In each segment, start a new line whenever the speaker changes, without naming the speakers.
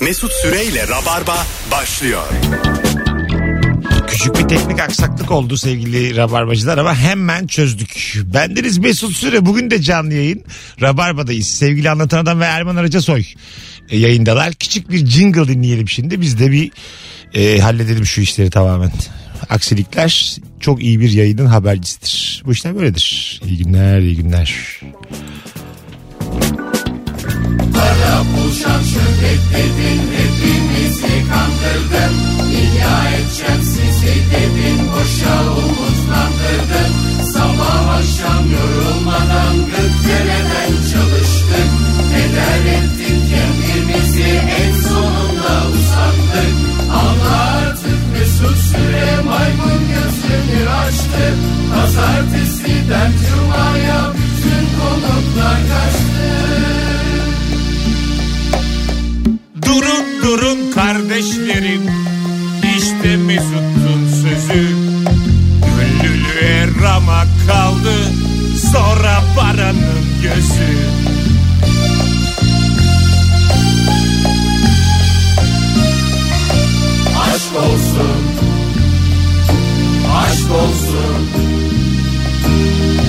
Mesut Süreyle Rabarba başlıyor.
Küçük bir teknik aksaklık oldu sevgili Rabarbacılar ama hemen çözdük. Bendeniz Mesut Süre bugün de canlı yayın. Rabarba'dayız. Sevgili Anlatan Adam ve Erman Aracasoy e, yayındalar. Küçük bir jingle dinleyelim şimdi. Biz de bir e, halledelim şu işleri tamamen. Aksilikler çok iyi bir yayının habercisidir. Bu işler böyledir. İyi günler, iyi günler.
Durun durun kardeşlerim işte Mesut'un sözü Güllülüğe ramak kaldı Sonra paranın gözü Aşk olsun Aşk olsun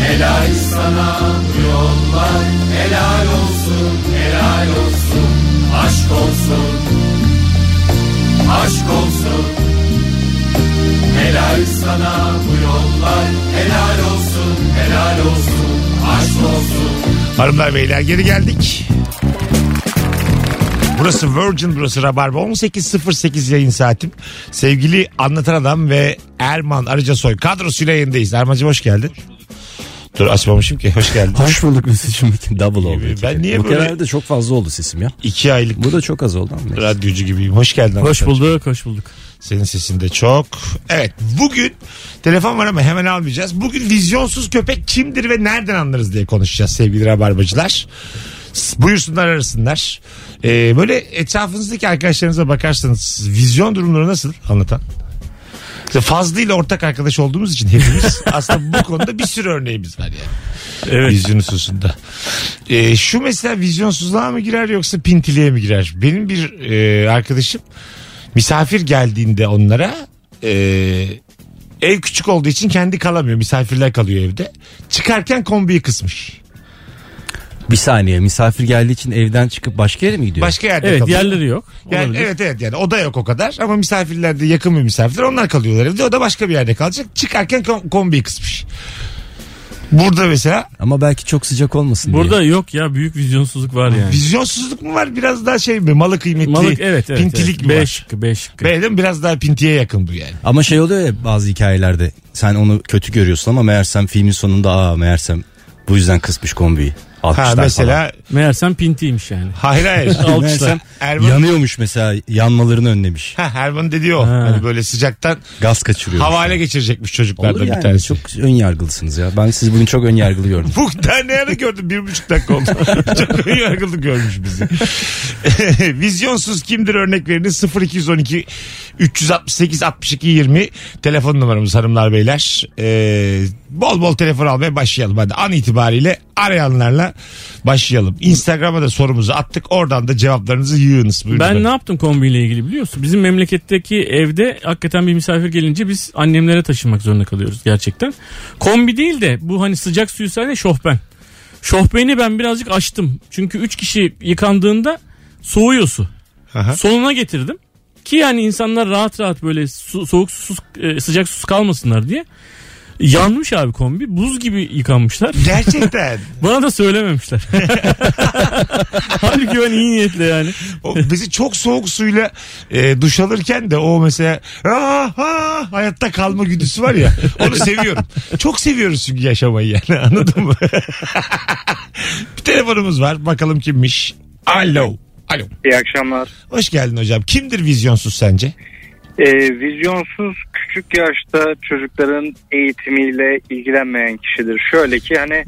Helal sana bu yollar Helal olsun Helal olsun Aşk olsun Aşk olsun Helal sana bu yollar Helal olsun Helal olsun Aşk olsun
Hanımlar beyler geri geldik. Burası Virgin, burası Rabarba. 18.08 yayın saatim. Sevgili Anlatan Adam ve Erman Arıcasoy kadrosuyla yayındayız. Erman'cığım hoş geldin. Dur açmamışım ki. Hoş geldin.
Hoş bulduk Mesut'cum.
Double oldu.
Ben
iki kere.
niye
Bu
böyle-
kenarda çok fazla oldu sesim ya.
İki aylık
Bu da çok az oldu ama. neyse.
radyocu gibiyim. Hoş geldin.
Hoş
arkadaşlar.
bulduk, hoş bulduk.
Senin sesin de çok. Evet bugün telefon var ama hemen almayacağız. Bugün vizyonsuz köpek kimdir ve nereden anlarız diye konuşacağız sevgili rabarbacılar. S- Buyursunlar arasınlar. Ee, böyle etrafınızdaki arkadaşlarınıza bakarsanız vizyon durumları nasıl anlatan? İşte Fazlı ile ortak arkadaş olduğumuz için hepimiz aslında bu konuda bir sürü örneğimiz var yani.
Evet.
Vizyon hususunda. Ee, şu mesela vizyonsuzluğa mı girer yoksa pintiliğe mi girer? Benim bir e, arkadaşım misafir geldiğinde onlara e, ev küçük olduğu için kendi kalamıyor. Misafirler kalıyor evde. Çıkarken kombiyi kısmış.
Bir saniye misafir geldiği için evden çıkıp başka yere mi gidiyor?
Başka yerde
Evet,
kalıyor.
yerleri yok.
Yani
Olabilir.
evet evet yani oda yok o kadar ama misafirler de yakın bir misafirler onlar kalıyorlar evde o da başka bir yerde kalacak çıkarken kom- kombiyi kısmış. Burada mesela
Ama belki çok sıcak olmasın diye.
Burada yok ya büyük vizyonsuzluk var yani.
vizyonsuzluk mu var biraz daha şey mi malı kıymetli
Malık evet evet.
pintilik
evet.
mi
B
var?
şıkkı, B şıkkı.
Beğendim biraz daha pintiye yakın bu yani.
Ama şey oluyor ya bazı hikayelerde sen onu kötü görüyorsun ama meğersem filmin sonunda aa meğersem bu yüzden kısmış kombiyi.
Ha
Alkışlar
mesela
Meğersem pintiymiş yani.
hayır hayır.
falan.
Alkışlar.
Meğersem
Erman-
yanıyormuş mesela yanmalarını önlemiş.
Ha, Erman dedi o.
Ha.
Hani böyle sıcaktan
Gaz kaçırıyor.
havale geçirecekmiş
Olur
çocuklardan
yani,
bir tanesi.
Çok ön yargılısınız ya. Ben siz bugün çok ön yargılı gördüm.
Bu daha ne ara gördüm bir buçuk dakika oldu. Çok iyi yargılı görmüş bizi. Vizyonsuz kimdir örnek veriniz 0212 368 62 20 telefon numaramız hanımlar beyler. Ee, bol bol telefon almaya başlayalım hadi an itibariyle arayanlarla başlayalım. Instagram'a da sorumuzu attık oradan da cevaplarınızı yığınız. Buyurun
Ben
efendim.
ne yaptım kombiyle ilgili biliyor musun? Bizim memleketteki evde hakikaten bir misafir gelince biz annemlere taşınmak zorunda kalıyoruz gerçekten. Kombi değil de bu hani sıcak suyu sen de şohben. Şohbeni ben birazcık açtım. Çünkü 3 kişi yıkandığında soğuyor su.
Aha.
Sonuna getirdim. Ki yani insanlar rahat rahat böyle su- soğuk susuz e, sıcak susuz kalmasınlar diye. Yanmış abi kombi. Buz gibi yıkanmışlar.
Gerçekten.
Bana da söylememişler. Halbuki ben iyi niyetle yani.
O bizi çok soğuk suyla e, duş alırken de o mesela "Ah, ah," hayatta kalma güdüsü var ya onu seviyorum. Çok seviyoruz çünkü yaşamayı yani anladın mı? bir telefonumuz var bakalım kimmiş. Alo. Alo.
İyi akşamlar.
Hoş geldin hocam. Kimdir vizyonsuz sence?
Ee, vizyonsuz küçük yaşta çocukların eğitimiyle ilgilenmeyen kişidir. Şöyle ki hani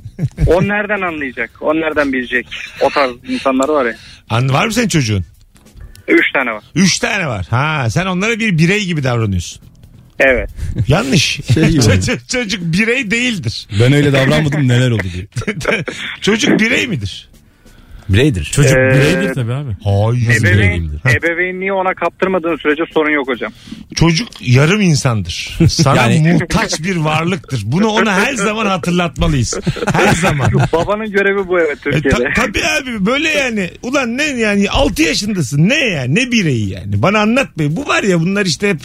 o nereden anlayacak? O nereden bilecek? O tarz insanlar var ya.
An var mı senin çocuğun?
Üç tane var.
Üç tane var. Ha sen onlara bir birey gibi davranıyorsun.
Evet.
Yanlış.
Şey gibi.
çocuk, çocuk birey değildir.
Ben öyle davranmadım neler oldu diye.
çocuk birey midir?
Bireydir.
Çocuk
Ee,
bireydir tabii abi.
Hayır.
Ebeveyn,
Bilmiyorum.
ebeveynliği ona kaptırmadığın sürece sorun yok hocam.
Çocuk yarım insandır. Sana
Yani-
muhtaç bir varlıktır. Bunu ona her zaman hatırlatmalıyız. Her zaman.
Babanın görevi bu evet
E,
Türkiye'de.
ta- tabii abi böyle yani. Ulan ne yani 6 yaşındasın ne ya ne bireyi yani. Bana anlatmayın. Bu var ya bunlar işte hep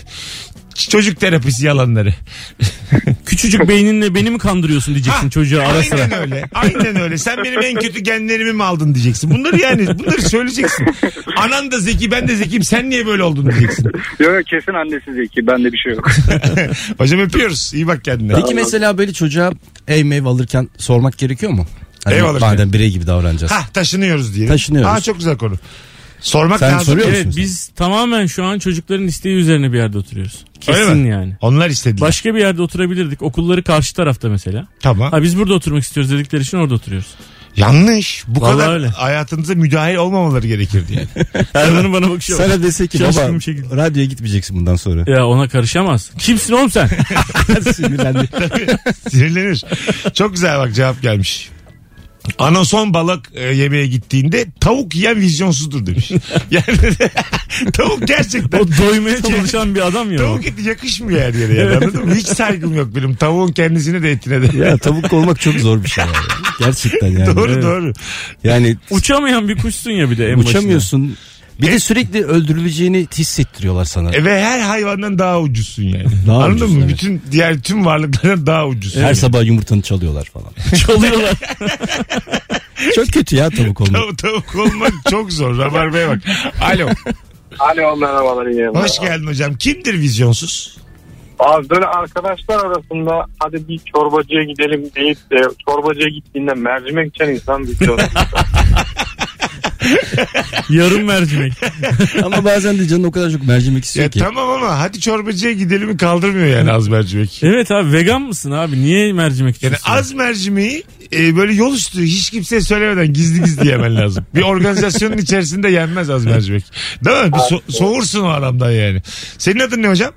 ç- çocuk terapisi yalanları.
Küçücük beyninle beni mi kandırıyorsun diyeceksin
Ha,
çocuğa ara sıra.
Aynen öyle. Aynen öyle. Sen benim en kötü genlerimi mi aldın diyeceksin. Bunları yani bunları söyleyeceksin. Anan da zeki ben de zekiyim sen niye böyle oldun diyeceksin.
Yok yok kesin annesi zeki. Bende bir şey yok.
Hocam öpüyoruz. İyi bak kendine.
Peki mesela böyle çocuğa ev mev alırken sormak gerekiyor mu? Hani
Ev alırken.
Madem birey gibi davranacağız.
Ha taşınıyoruz diyelim.
Taşınıyoruz.
Aa çok güzel konu. Sormak
Sen
lazım.
soruyor musun?
Evet biz tamamen şu an çocukların isteği üzerine bir yerde oturuyoruz.
Öyle
Kesin
mi?
yani.
Onlar istediler.
Başka bir yerde oturabilirdik. Okulları karşı tarafta mesela.
Tamam.
Ha biz burada oturmak istiyoruz dedikleri için orada oturuyoruz.
Yanlış. Bu
Vallahi
kadar
öyle.
hayatınıza müdahil olmamaları gerekirdi yani.
Erman'ın bana bakışı bak.
Sana dese ki
Şaşkın
baba
bir şekilde.
radyoya gitmeyeceksin bundan sonra.
Ya ona karışamaz. Kimsin oğlum sen?
Sinirlendi.
Sinirlenir. Çok güzel bak cevap gelmiş. Anason balık e, yemeğe gittiğinde tavuk yiyen vizyonsuzdur demiş. Yani tavuk gerçekten
O doymaya çalışan bir adam ya. o.
tavuk eti yakışmıyor her yere yani anladın mı? Hiç saygım yok benim tavuğun kendisine de etine de.
ya tavuk olmak çok zor bir şey. ya. Gerçekten yani.
doğru doğru.
Yani
Uçamayan bir kuşsun ya bir de en başında.
uçamıyorsun. Bir de sürekli öldürüleceğini hissettiriyorlar sana.
E ve her hayvandan daha ucuzsun yani.
Daha
Anladın
ucuzsun,
mı?
evet.
Bütün diğer tüm varlıklardan daha ucuzsun.
Her sabah yumurtanı çalıyorlar falan.
Çalıyorlar.
Çok kötü ya tavuk olmak.
Tav- tavuk olmak çok zor. Rabarbaya bak. Alo.
Alo merhabalar iyi yayınlar.
Hoş geldin hocam. Kimdir vizyonsuz?
Abi böyle arkadaşlar arasında hadi bir çorbacıya gidelim deyip de çorbacıya gittiğinde mercimek içen insan bir çorbacı.
Yarım mercimek.
Ama bazen de canın o kadar çok mercimek istiyor
Ya
ki.
tamam ama hadi çorbacıya gidelim kaldırmıyor yani az mercimek.
Evet abi vegan mısın abi? Niye mercimek
Yani
içiyorsun?
az mercimeği e, böyle yol üstü hiç kimseye söylemeden gizli gizli yemen lazım. Bir organizasyonun içerisinde yenmez az mercimek. Değil mi? Bir so- soğursun o adamdan yani. Senin adın ne hocam?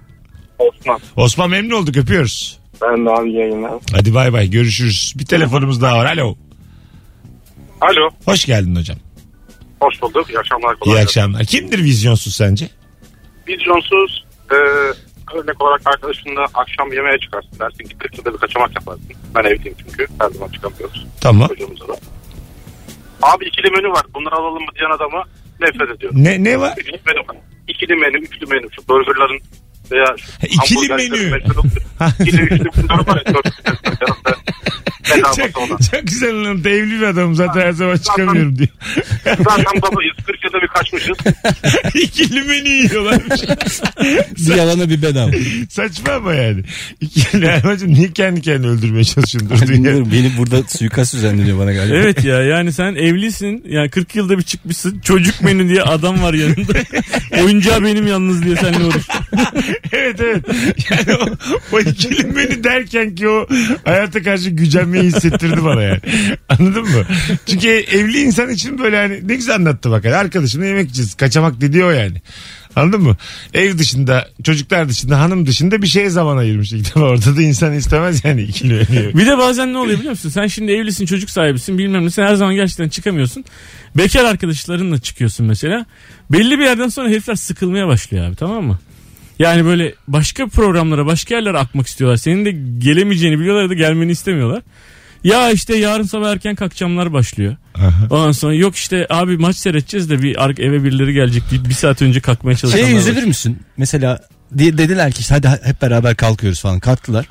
Osman.
Osman memnun olduk öpüyoruz.
Ben de abi yayınlar.
Hadi bay bay görüşürüz. Bir telefonumuz daha var. Alo.
Alo.
Hoş geldin hocam.
Hoş bulduk. İyi akşamlar.
İyi
Kolay gelsin.
akşamlar. Kimdir vizyonsuz sence?
Vizyonsuz e, örnek olarak arkadaşınla akşam yemeğe çıkarsın dersin ki kırkında bir kaçamak yaparsın. Ben evdeyim çünkü. Her zaman çıkamıyoruz.
Tamam.
Çocuğumuza da. Abi ikili menü var. Bunları alalım mı diyen adamı nefret ediyorum.
Ne ne var?
İkili menü var. İkili menü, üçlü menü. Şu burgerların veya şu
İkili
hamburgerlerin
menü.
meşhur- İkili, üçlü bunları var. ya, dört, beş, dört, bedavası olan.
Çok, çok güzel anlattı. Evli bir adam zaten her zaman çıkamıyorum diyor.
Zaten babayız. Kırkada bir kaçmışız.
İkili menü yiyorlarmış.
Bir yalana bir bedava.
Saçma ama yani. İkili Erman'cığım niye kendi kendini öldürmeye çalışıyorsun durduğun yer?
Bilmiyorum, Benim burada suikast düzenleniyor bana galiba.
Evet ya yani sen evlisin. Yani 40 yılda bir çıkmışsın. Çocuk menü diye adam var yanında. Oyuncağı benim yalnız diye seninle uğraş.
Evet evet. Yani o, o ikili menü derken ki o hayata karşı gücenmeyi hissettirdi bana yani. Anladın mı? Çünkü evli insan için böyle hani ne güzel anlattı bak. Yani arkadaşımla yemek yiyeceğiz. Kaçamak dedi o yani. Anladın mı? Ev dışında, çocuklar dışında, hanım dışında bir şeye zaman ayırmış ilk defa. Orada da insan istemez yani ikili menü.
Bir de bazen ne oluyor biliyor musun? Sen şimdi evlisin, çocuk sahibisin, bilmem ne. Sen her zaman gerçekten çıkamıyorsun. Bekar arkadaşlarınla çıkıyorsun mesela. Belli bir yerden sonra herifler sıkılmaya başlıyor abi tamam mı? Yani böyle başka programlara, başka yerlere akmak istiyorlar. Senin de gelemeyeceğini biliyorlar ya da gelmeni istemiyorlar. Ya işte yarın sabah erken kalkacağımlar başlıyor. Ondan sonra yok işte abi maç seyredeceğiz de bir ar- eve birileri gelecek deyip bir saat önce kalkmaya çalışanlar.
Şeye
var.
üzülür müsün? Mesela di- dediler ki işte hadi hep beraber kalkıyoruz falan. Kalktılar.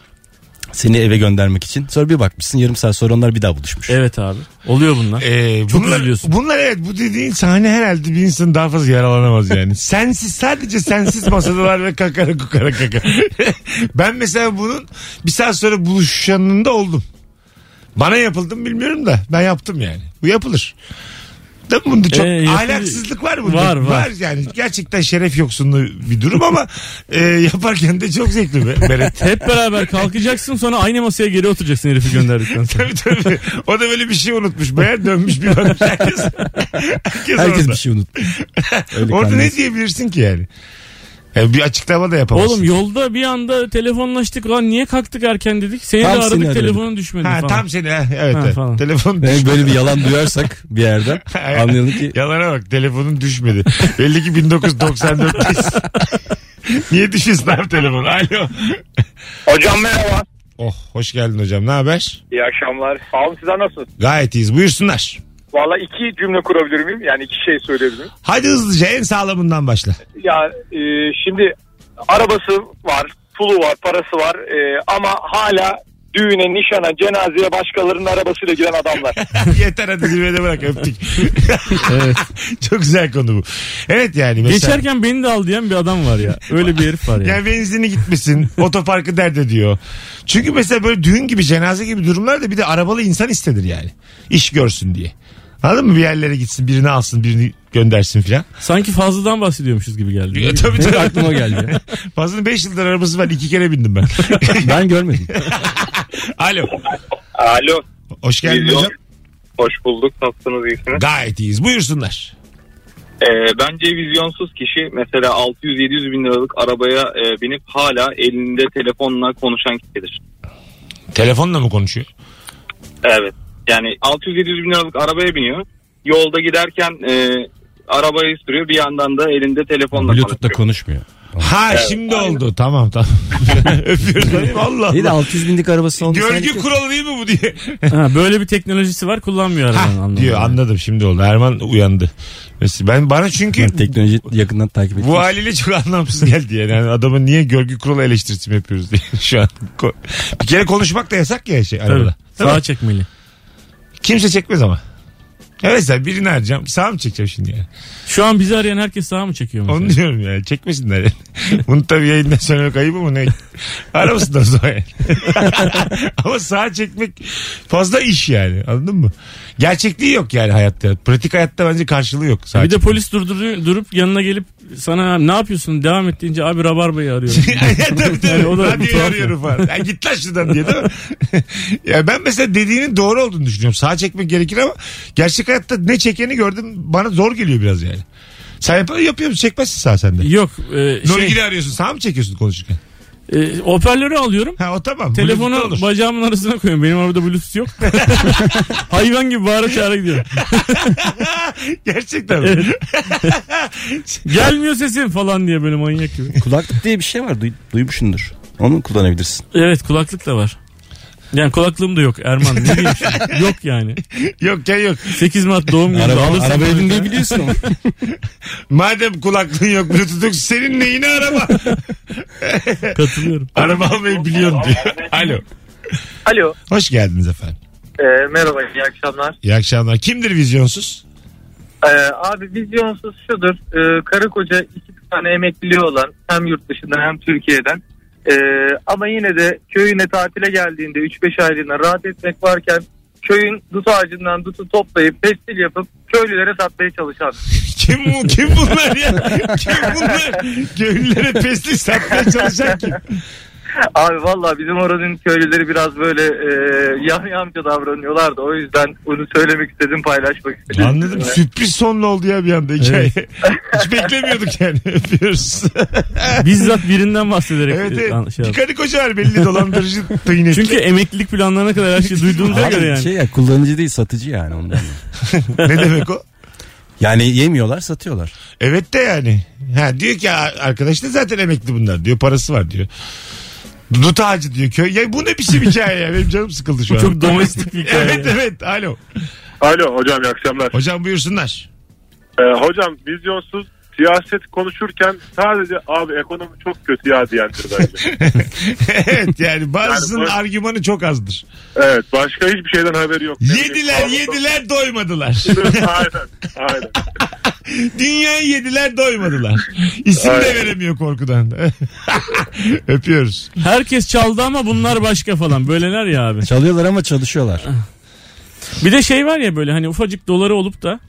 Seni eve göndermek için. Sonra bir bakmışsın yarım saat sonra onlar bir daha buluşmuş.
Evet abi. Oluyor bunlar.
Ee,
Çok
bunlar,
üzülüyorsun.
Bunlar evet bu dediğin sahne herhalde bir insan daha fazla yaralanamaz yani. sensiz sadece sensiz masadalar ve kakara kukara kaka. ben mesela bunun bir saat sonra buluşanında oldum. Bana yapıldı mı bilmiyorum da ben yaptım yani. Bu yapılır. Değil mi bunda çok
Ee, yapıl-
ahlaksızlık var mı?
Var, var.
yani gerçekten şeref yoksunluğu bir durum ama e, yaparken de çok zevkli be, Beret.
Hep beraber kalkacaksın sonra aynı masaya geri oturacaksın herifi gönderdikten sonra.
tabii tabii. O da böyle bir şey unutmuş. Meğer dönmüş bir bakmış herkes.
Herkes
Herkes, orada.
bir şey unuttu. Öyle
Orada
kalmış.
ne diyebilirsin ki yani? E, bir açıklama da yapamazsın.
Oğlum yolda bir anda telefonlaştık. Lan niye kalktık erken dedik. Seni
Tam
de
seni
aradık
aradık.
telefonun düşmedi
Ha,
falan.
tam seni ha, evet,
Ha,
evet.
falan.
telefon
Yani
düşmedi.
böyle bir yalan duyarsak bir yerden anlayalım ki
Yalana bak telefonun düşmedi. Belli ki 1994'teyiz. Niye düşüyorsun abi telefon? Alo.
Hocam merhaba.
Oh hoş geldin hocam ne haber?
İyi akşamlar. Abi sizler nasılsınız?
Gayet iyiyiz buyursunlar.
Valla iki cümle kurabilir miyim? Yani iki şey söyleyebilir miyim?
Hadi hızlıca en sağlamından başla.
Ya e, şimdi arabası var, pulu var, parası var e, ama hala düğüne, nişana, cenazeye başkalarının arabasıyla giren adamlar.
Yeter hadi zirvede bırak öptük. Çok güzel konu bu. Evet yani mesela.
Geçerken beni de al diyen bir adam var ya. Öyle bir herif var ya.
Yani benzinli gitmişsin. otoparkı dert ediyor. Çünkü mesela böyle düğün gibi cenaze gibi durumlarda bir de arabalı insan istedir yani. İş görsün diye. Anladın mı? Bir yerlere gitsin birini alsın birini göndersin filan.
Sanki fazladan bahsediyormuşuz gibi geldi.
Ya, tabii
benim
tabii.
aklıma geldi.
Fazlının 5 yıldır arabası var. iki kere bindim ben.
Ben görmedim.
Alo.
Alo,
Hoş geldin
Biz yok.
hocam.
hoş bulduk. Nasılsınız, iyisiniz?
Gayet iyiyiz. Buyursunlar.
Ee, bence vizyonsuz kişi mesela 600-700 bin liralık arabaya e, binip hala elinde telefonla konuşan kişidir.
Telefonla mı konuşuyor?
Evet. Yani 600-700 bin liralık arabaya biniyor. Yolda giderken e, arabayı sürüyor. Bir yandan da elinde telefonla
Bluetooth'la
konuşuyor.
konuşmuyor.
Ha şimdi oldu. Tamam tamam. Öpüyoruz. Hayır,
İyi de
Vallahi.
600 binlik arabası olmuş.
Görgü kuralı değil mi bu diye.
Ha, böyle bir teknolojisi var kullanmıyor
Hah,
arabanın anlamında.
diyor anladım şimdi oldu. Erman uyandı. Mesela ben bana çünkü
Teknoloji yakından takip
bu
ediyor.
haliyle çok anlamsız geldi yani. yani adamın niye görgü kuralı eleştirisi mi yapıyoruz diye şu an. Ko- Bir kere konuşmak da yasak ya şey
Tabii.
arabada. Değil mi?
Sağa çekmeli.
Kimse çekmez ama. Evet mesela birini arayacağım. Sağ mı çekeceğim şimdi yani?
Şu an bizi arayan herkes sağa mı çekiyor mesela?
Onu diyorum yani. Çekmesinler yani. Bunu tabii yayından söylemek ayıp ama ne? Aramasınlar o zaman yani. ama sağa çekmek fazla iş yani. Anladın mı? Gerçekliği yok yani hayatta. Pratik hayatta bence karşılığı yok. Sağa
E Bir de
çekmek.
polis durduruyor, durup yanına gelip sana ne yapıyorsun devam et deyince abi rabarbayı arıyorum.
Aynen, tabii tabii.
Yani o da
Radyoyu
tuhaf ya.
arıyorum falan. Ya git lan şuradan diye değil mi? ya ben mesela dediğinin doğru olduğunu düşünüyorum. Sağa çekmek gerekir ama gerçek hayatta ne çekeni gördüm bana zor geliyor biraz yani. Sen yapar, yapıyor musun? Çekmezsin sağ sende.
Yok e, şey,
Nurgül'ü arıyorsun. Sağ mı çekiyorsun konuşurken?
e, hoparlörü alıyorum.
Ha o tamam. Bluetooth'ta
Telefonu
olur.
bacağımın arasına koyuyorum. Benim arabada bluetooth yok. Hayvan gibi bağıra çağıra gidiyorum.
Gerçekten. mi?
Evet. Gelmiyor sesin falan diye böyle manyak gibi.
Kulaklık diye bir şey var. duy- duymuşsundur. Onu kullanabilirsin.
Evet kulaklık da var. Yani kulaklığım da yok Erman. Ne diyeyim şimdi? Yok yani.
yok ya yok.
8 Mart doğum günü.
Araba,
Alırsan
arabaya
kulaklığı-
biliyorsun ama.
Madem kulaklığın yok Bluetooth yok senin neyini araba?
Katılıyorum.
araba almayı biliyorsun diyor. Alo.
Alo. E,
Hoş geldiniz efendim.
merhaba, iyi akşamlar. E,
İyi akşamlar. Kimdir vizyonsuz?
abi vizyonsuz şudur. E, karı koca iki tane emekliliği olan hem yurt dışından hem Türkiye'den. E, ama yine de köyüne tatile geldiğinde 3-5 aylığına rahat etmek varken köyün dut ağacından dutu toplayıp pestil yapıp köylülere satmaya çalışan.
Kim bu? Kim bunlar ya? Kim bunlar? Köylülere pestil satmaya çalışan kim?
Abi valla bizim oranın köylüleri biraz böyle e, yamyamca davranıyorlar da o yüzden bunu söylemek istedim paylaşmak istedim.
Anladım. Sürpriz sonlu oldu ya bir anda hikaye. Hiç beklemiyorduk yani. Öpüyoruz.
Bizzat birinden bahsederek.
evet
e, an-
evet.
şey
Bir
yaptım.
karı koca var belli dolandırıcı tıynet.
Çünkü emeklilik planlarına kadar her şeyi duyduğumuza
Abi
göre yani.
şey ya kullanıcı değil satıcı yani ondan.
ne demek o?
Yani yemiyorlar satıyorlar.
Evet de yani. Ha diyor ki "Aa, arkadaş da zaten emekli bunlar diyor. Parası var diyor. Dut ağacı diyor köy. Ya bu ne biçim hikaye ya? Benim canım sıkıldı şu an.
Çok domestik bir hikaye.
Evet evet. Alo.
Alo hocam iyi akşamlar.
Hocam buyursunlar.
Ee, hocam vizyonsuz siyaset konuşurken sadece abi ekonomi çok kötü ya diyendir bence.
evet yani bazısının
Yani bu-
argümanı çok azdır.
evet başka hiçbir şeyden haberi yok.
Yediler
Avrupa-
yediler doymadılar.
aynen aynen.
Dünyayı yediler doymadılar. İsim de
Aynen.
veremiyor korkudan. Öpüyoruz.
Herkes çaldı ama bunlar başka falan. Böyleler ya abi.
Çalıyorlar ama çalışıyorlar.
Bir de şey var ya böyle hani ufacık doları olup da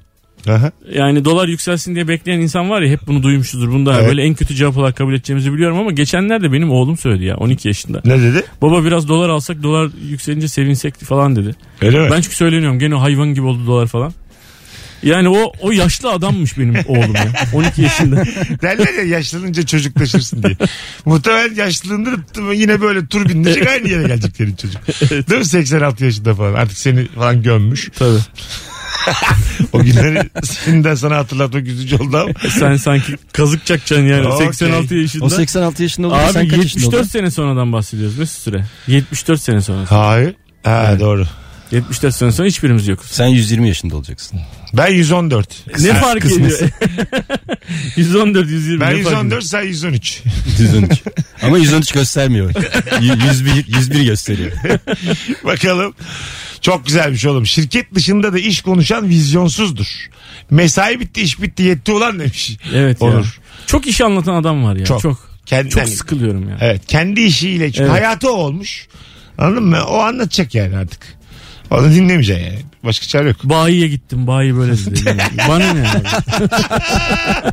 Aha.
yani dolar yükselsin diye bekleyen insan var ya hep bunu duymuşuzdur. Bunu da
Evet.
böyle en kötü cevap olarak kabul edeceğimizi biliyorum ama geçenlerde benim oğlum söyledi ya 12 yaşında.
Ne dedi?
Baba biraz dolar alsak dolar yükselince sevinsek falan dedi.
Öyle mi?
Ben çünkü söyleniyorum gene o hayvan gibi oldu dolar falan. Yani o o yaşlı adammış benim oğlum ya. 12 yaşında.
Derler ya yaşlanınca çocuklaşırsın diye. Muhtemelen yaşlılığında da t- yine böyle tur bindirecek aynı yere gelecek senin çocuk. Değil mi 86 yaşında falan artık seni falan gömmüş.
Tabii.
O günleri senin de sana hatırlatmak üzücü oldu ama.
Sen sanki kazık çakacaksın yani
Okey.
86 yaşında.
O 86 yaşında olur.
Abi
sen kaç yaşında
74
oldun?
sene sonradan bahsediyoruz Mesut Süre. 74 sene sonra.
Hayır. Ha doğru.
74 sene sonra hiçbirimiz yokuz.
Sen 120 yaşında olacaksın.
Ben 114.
ne fark ediyor? 114 120
Ben
ne fark ediyor?
114 sen 113.
113. Ama 113 göstermiyor. Y- 101, 101 gösteriyor.
Bakalım. Çok güzelmiş oğlum. Şirket dışında da iş konuşan vizyonsuzdur. Mesai bitti iş bitti yetti ulan demiş.
Evet ya.
Olur.
Çok iş anlatan adam var ya.
Çok.
Çok.
Kendi,
Çok
yani-
sıkılıyorum ya.
Evet kendi işiyle çünkü
Evet.
hayatı o olmuş. Anladın mı? O anlatacak yani artık. Onu dinlemeyeceksin yani. Başka çare yok.
Bayiye gittim. Bayi böyle dedi. Yani Bana ne abi?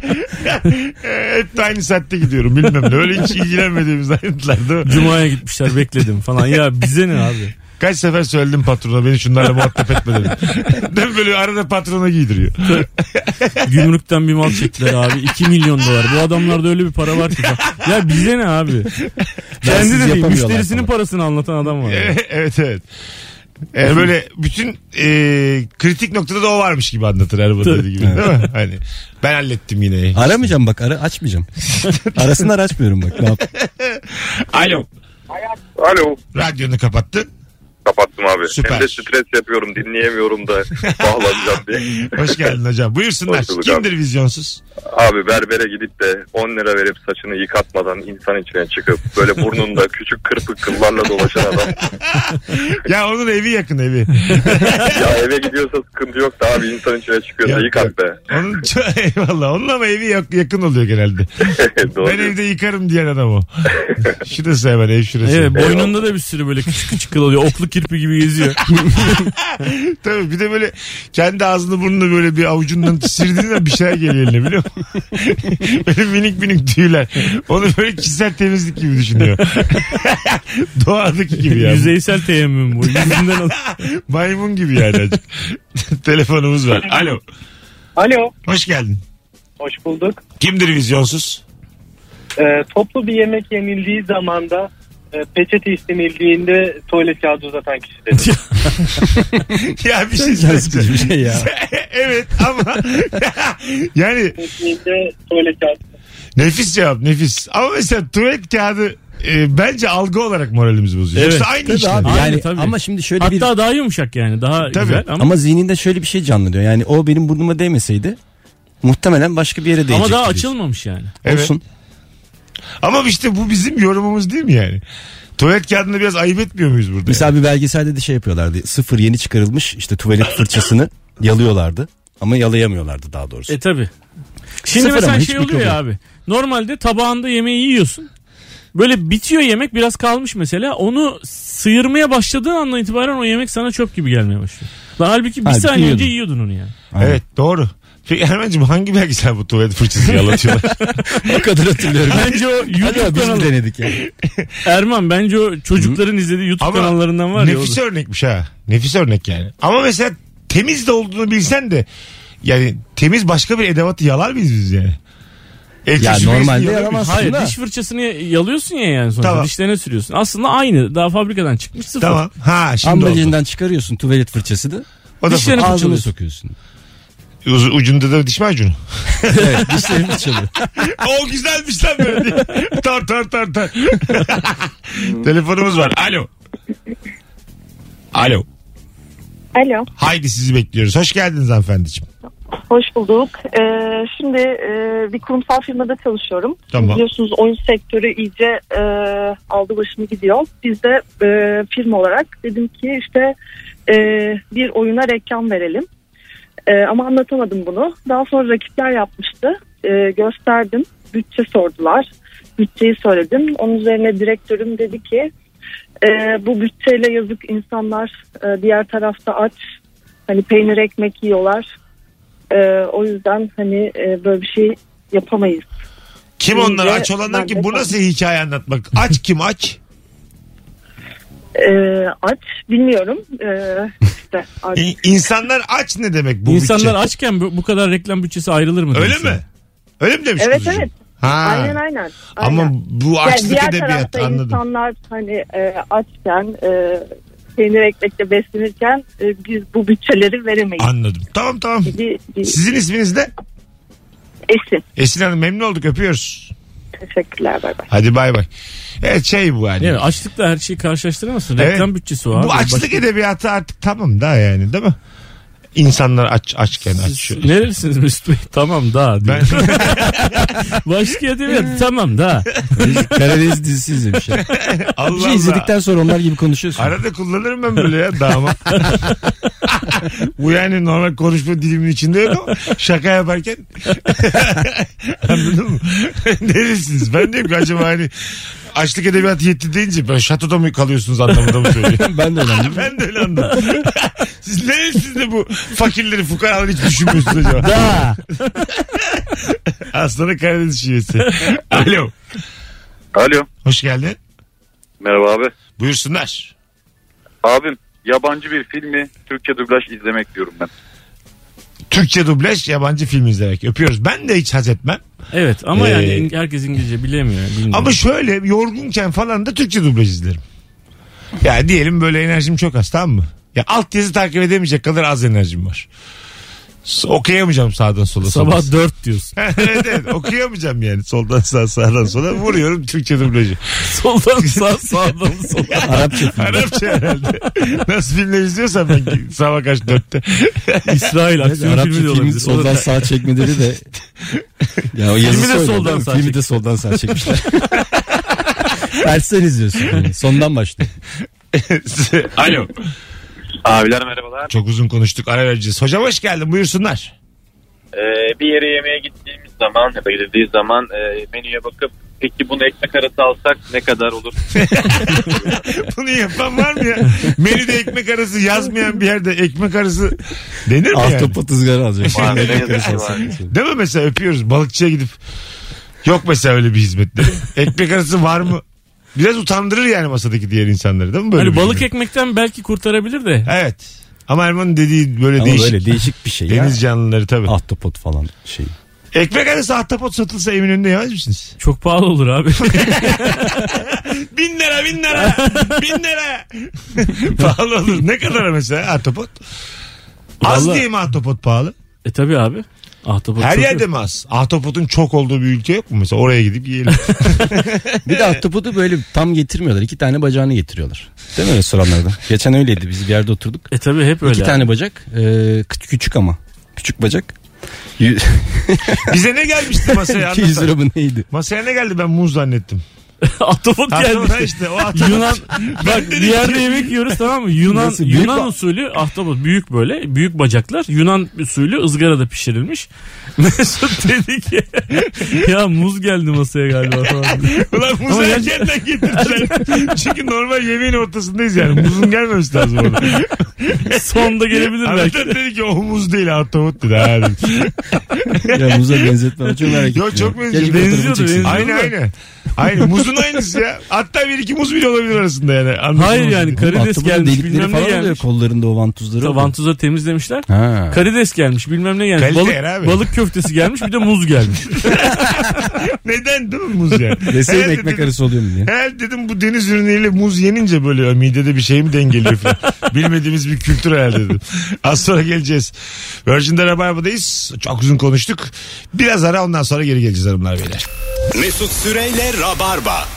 Ee, Hep de aynı saatte gidiyorum bilmem ne. Öyle hiç ilgilenmediğimiz ayrıntılar değil mi?
Cuma'ya gitmişler bekledim falan. Ya bize ne abi?
Kaç sefer söyledim patrona beni şunlarla muhatap etme dedim. Değil mi? böyle arada patrona giydiriyor.
Gümrükten bir mal çektiler abi. 2 milyon dolar. Bu adamlarda öyle bir para var ki. Ya bize ne abi? Kendi
Bensiz
de değil.
yapamıyorlar
Müşterisinin
falan.
parasını anlatan adam var. ya.
evet evet. Ee, böyle bütün e, kritik noktada da o varmış gibi anlatır araba dediği gibi değil mi? Hani ben hallettim yine.
Aramayacağım bak ara, açmayacağım. Arasınlar açmıyorum bak. Ne yap?
Alo.
Alo.
Radyonu kapattın.
Kapattım abi.
Süper.
Hem de stres yapıyorum dinleyemiyorum da bağlanacağım diye.
Hoş geldin hocam. Buyursunlar.
Hoş bulduk
Kimdir vizyonsuz?
Abi berbere gidip de 10 lira verip saçını yıkatmadan insan içine çıkıp böyle burnunda küçük kırpık kıllarla dolaşan adam.
Ya onun evi yakın evi.
Ya eve gidiyorsa sıkıntı yok da abi insan içine çıkıyorsa
Yok,
yıkat be.
Onun çok- eyvallah. Onun ama evi yak- yakın oluyor genelde.
Doğru.
Ben evde yıkarım diyen adam o. şurası hemen ev şurası.
Evet boynunda da bir sürü böyle küçük küçük kıl oluyor. Oklu kirpi gibi geziyor.
Tabii bir de böyle kendi ağzını burnunu böyle bir avucundan sirdiğinde bir şeyler geliyor eline biliyor musun? böyle minik minik tüyler. Onu böyle kişisel temizlik gibi düşünüyor. Doğadaki gibi yani.
Yüzeysel teyemmüm bu. Yüzünden al-
Maymun gibi yani azıcık. Telefonumuz var. Alo.
Alo,
Hoş geldin.
hoş bulduk.
Kimdir vizyonsuz?
Ee, toplu bir yemek yenildiği zaman da e, peçete istenildiğinde tuvalet kağıdı uzatan kişi dedi.
ya bir şey
Can sıkıcı
söyleyeceğim.
bir şey ya.
evet ama yani
Yenildiğinde tuvalet kağıdı.
nefis cevap nefis. Ama mesela tuvalet kağıdı e, bence algı olarak moralimizi bozuyor.
Evet.
Yoksa aynı
Tabii
işte.
abi
Aynı
şey yani
tabii.
ama şimdi şöyle bir...
Hatta daha yumuşak yani. Daha
Tabii.
güzel ama,
Ama zihninde şöyle bir şey canlanıyor. Yani o benim burnuma değmeseydi muhtemelen başka bir şey. yere değecekti.
ama daha
diyorsun.
açılmamış yani.
Evet.
Olsun.
Ama işte bu bizim yorumumuz değil mi yani? Tuvalet kağıdını biraz ayıp etmiyor muyuz burada?
Mesela bir belgeselde de şey yapıyorlardı. Sıfır yeni çıkarılmış işte tuvalet fırçasını yalıyorlardı. Ama yalayamıyorlardı daha doğrusu.
E tabi. Şimdi
Sıfır
mesela
ama hiç
şey oluyor
mikrofon.
ya abi. Normalde tabağında yemeği yiyorsun. Böyle bitiyor yemek biraz kalmış mesela. Onu sıyırmaya başladığın andan itibaren o yemek sana çöp gibi gelmeye başlıyor. Lan halbuki bir
Halbuki
saniye
yiyordun.
önce yiyordun onu yani.
yani? Evet doğru. Peki Ermen'cim hangi belgesel bu tuvalet fırçası yalatıyorlar?
o kadar hatırlıyorum.
Bence o
Hadi abi
YouTube
biz mi
kanalı.
denedik ya?
Erman bence o çocukların izlediği YouTube
Ama
kanallarından var ya. o da.
Nefis örnekmiş ha. Nefis örnek yani. Ama mesela temiz de olduğunu bilsen de yani temiz başka bir edevatı yalar mıyız biz yani? El
Ya
tecrübesini
normalde
yalar
yalamaz.
mıyız?
Hayır
Aslında-
diş fırçasını yalıyorsun ya yani sonuçta
Tamam.
dişlerine sürüyorsun. Aslında aynı daha fabrikadan çıkmış sıfır.
Tamam. Ha şimdi oldu.
Ambalajından çıkarıyorsun tuvalet fırçasını.
O da
Dişlerini-
Ağzına
fırçalıyorsun.
sokuyorsun.
Uz- ucunda da diş macunu.
evet dişlerini çalıyor.
o güzelmiş lan böyle diye. Tar tar tar tar. Telefonumuz var. Alo. Alo.
Alo,
Haydi sizi bekliyoruz. Hoş geldiniz hanımefendiciğim.
hoş bulduk. Ee, şimdi e, bir kurumsal firmada çalışıyorum.
Tamam.
Biliyorsunuz oyun sektörü iyice e, aldı başını gidiyor. Biz de e, firma olarak dedim ki işte e, bir oyuna reklam verelim. E, ama anlatamadım bunu. Daha sonra rakipler yapmıştı. E, gösterdim, bütçe sordular. Bütçeyi söyledim. Onun üzerine direktörüm dedi ki e, bu bütçeyle yazık insanlar e, diğer tarafta aç. Hani peynir ekmek yiyorlar. E, o yüzden hani e, böyle bir şey yapamayız.
Kim onlar?
İyice
Aç olanlar
ben
kim?
de
Bu nasıl hikaye anlatmak? Aç kim aç?
Ee, aç bilmiyorum. Ee, işte. artık.
İ- İnsanlar aç ne demek bu
İnsanlar
bütçe?
açken bu, bu kadar reklam bütçesi ayrılır mı?
Öyle
demiş
mi? Öyle mi demiş
Evet
kuzucuğum?
evet.
Ha.
Aynen aynen.
Ama
Aynen.
bu
Yani
açlık
diğer
edebiyatı
tarafta
anladım.
insanlar hani e, açken e, peynir ekmekle beslenirken e, biz bu bütçeleri veremeyiz.
Anladım. Tamam tamam.
Bir, bir
Sizin isminiz de?
esin.
Esin Hanım memnun olduk öpüyoruz.
Teşekkürler bay bay.
Hadi bay bay. Evet şey bu yani.
Yani açlıkla her şeyi karşılaştıramazsın.
Evet.
Reklam bütçesi o abi.
bu açlık
Başka-
edebiyatı artık tamam da yani değil mi? İnsanlar aç açken aç.
Siz Nerelisiniz Mesut Bey? Tamam da. diyor.
Ben
Başka edebiyat tamam da.
Karadeniz dizisi izlemiş. ya. Bir
Allah
şey
Allah.
izledikten sonra onlar gibi konuşuyorsun.
Arada kullanırım ben böyle ya damat. bu yani normal konuşma dilimin içinde yok ama şaka yaparken anladın mı? Neresiniz? Ben diyorum ki acaba hani açlık edebiyatı yetti deyince ben şatoda mı kalıyorsunuz anlamında mı söylüyorum?
ben de öyle. anladım.
ben de öyle anladım. Siz neresiniz de bu fakirleri fukaraları hiç düşünmüyorsunuz acaba?
Da.
Aslanı Karadeniz şivesi. Alo.
Alo.
Hoş geldin.
Merhaba abi.
Buyursunlar.
Abim yabancı bir filmi Türkçe dublaj izlemek diyorum ben.
Türkçe dublaj yabancı film izlemek. Öpüyoruz. Ben de hiç haz etmem.
Evet ama
Ee,
yani in- herkes İngilizce bilemiyor. bilmiyor.
Ama şöyle yorgunken falan da Türkçe dublaj izlerim. Ya diyelim böyle enerjim çok az tamam mı? Ya altyazı takip edemeyecek kadar az enerjim var. S- Okuyamayacağım sağdan sola. soldan.
Sabah 4 diyorsun.
evet evet okuyamayacağım yani soldan sağa sağdan sola vuruyorum Türkçe dublajı.
Soldan sağ sağdan sola.
Arapça.
Arapça herhalde. Nasıl filmler izliyorsan ben ki- sabah kaç dörtte.
İsrail aksiyon
Arapça
filmi de
filmin
olabilir.
soldan sağ çekmeleri de ya o yazısı
Filmi de
öyle
soldan
değil mi?
sağa
Filmi de soldan sağ çekmişler. Tersten izliyorsun. Yani. Sondan başlıyor.
Alo.
Abiler merhabalar.
Çok uzun konuştuk ara vereceğiz. Hocam hoş geldin buyursunlar.
bir yere yemeğe gittiğimiz zaman ya da gidildiği zaman e, menüye bakıp peki bunu ekmek arası alsak ne kadar olur?
Bunu yapan var mı ya? Menüde ekmek arası yazmayan bir yerde ekmek arası denir mi yani?
Ahtapot ızgara alacak.
Var,
Ekmek
ne yazık ki
arası
var.
alacak.
Değil mi mesela öpüyoruz balıkçıya gidip. Yok mesela öyle bir hizmetleri. ekmek arası var mı? Biraz utandırır yani masadaki diğer insanları değil mi? Böyle
Hani
bir
balık
şey?
ekmekten belki kurtarabilir de.
Evet. Ama Erman'ın dediği böyle
Ama
değişik.
böyle değişik bir şey.
Deniz
Deniz
canlıları tabii.
Ahtapot falan şey.
Ekmek arası ahtapot satılsa Eminönü'nde yemez misiniz?
Çok pahalı olur abi.
Bin lira bin lira bin lira. pahalı olur. Ne kadar mesela ahtapot? Az
Vallahi-
diye mi ahtapot pahalı?
e tabi abi. Ahtapot
Her
çok
yerde
yok.
mi az? Ahtapotun çok olduğu bir ülke yok mu? Mesela oraya gidip yiyelim.
Bir de ahtapotu böyle tam getirmiyorlar. İki tane bacağını getiriyorlar. Değil mi restoranlarda? Geçen öyleydi. Biz bir yerde oturduk.
E tabi hep öyle.
İki
abi.
tane bacak. e, kü- küçük ama. Küçük bacak. Yü-
Bize ne gelmişti masaya
200
anlatan?
lira mı neydi?
Masaya ne geldi ben muz zannettim.
Ahtapot
Ahtapot
geldi.
işte o ahtapot.
Yunan bak
dedim
bir yerde yemek yiyoruz tamam mı? Yunan
Nasıl? Büyük
Yunan
ba-
usulü ahtapot büyük böyle büyük bacaklar. Yunan usulü ızgarada pişirilmiş. Mesut dedi ki ya muz geldi masaya galiba falan. diye.
Ulan muzu
Ama yani-
erkenden getirdiler. Çünkü normal yemeğin ortasındayız yani. Muzun gelmemesi lazım orada.
Sonda gelebilir belki.
Anlatan dedi ki o muz değil ahtapot dedi. Ha, dedim.
Ya muza benzetme. ama Çok merak
Yo,
ettim
çok
ya.
benziyor.
Keşke fotoğrafını
Benziyordu,
çeksin.
benziyor.
Aynı
Anladın
aynı. Aynı muzun aynısı ya. Hatta bir iki muz bile olabilir arasında yani. Anladın
Hayır
mı?
yani
Oğlum,
karides
ahtapotun
gelmiş
delikleri
bilmem ne
falan oluyor
gelmiş.
kollarında o vantuzları. oluyor.
Vantuzları temizlemişler.
Ha.
Karides gelmiş bilmem ne gelmiş.
Kalite
balık,
yer abi.
balık köftesi gelmiş bir de muz gelmiş.
Neden değil mi muz yani?
Deseydi
Herhalde
ekmek
dedim-
arası oluyor mu diye.
Herhalde dedim bu deniz ürünleriyle muz yenince böyle ya, midede bir şey mi dengeliyor falan. Bilmediğimiz bir kültür herhalde dedim. Az sonra geleceğiz. Virgin'de Rabarba'dayız. Çok uzun konuştuk. Biraz ara ondan sonra geri geleceğiz hanımlar beyler.
Mesut Süreyle Rabarba.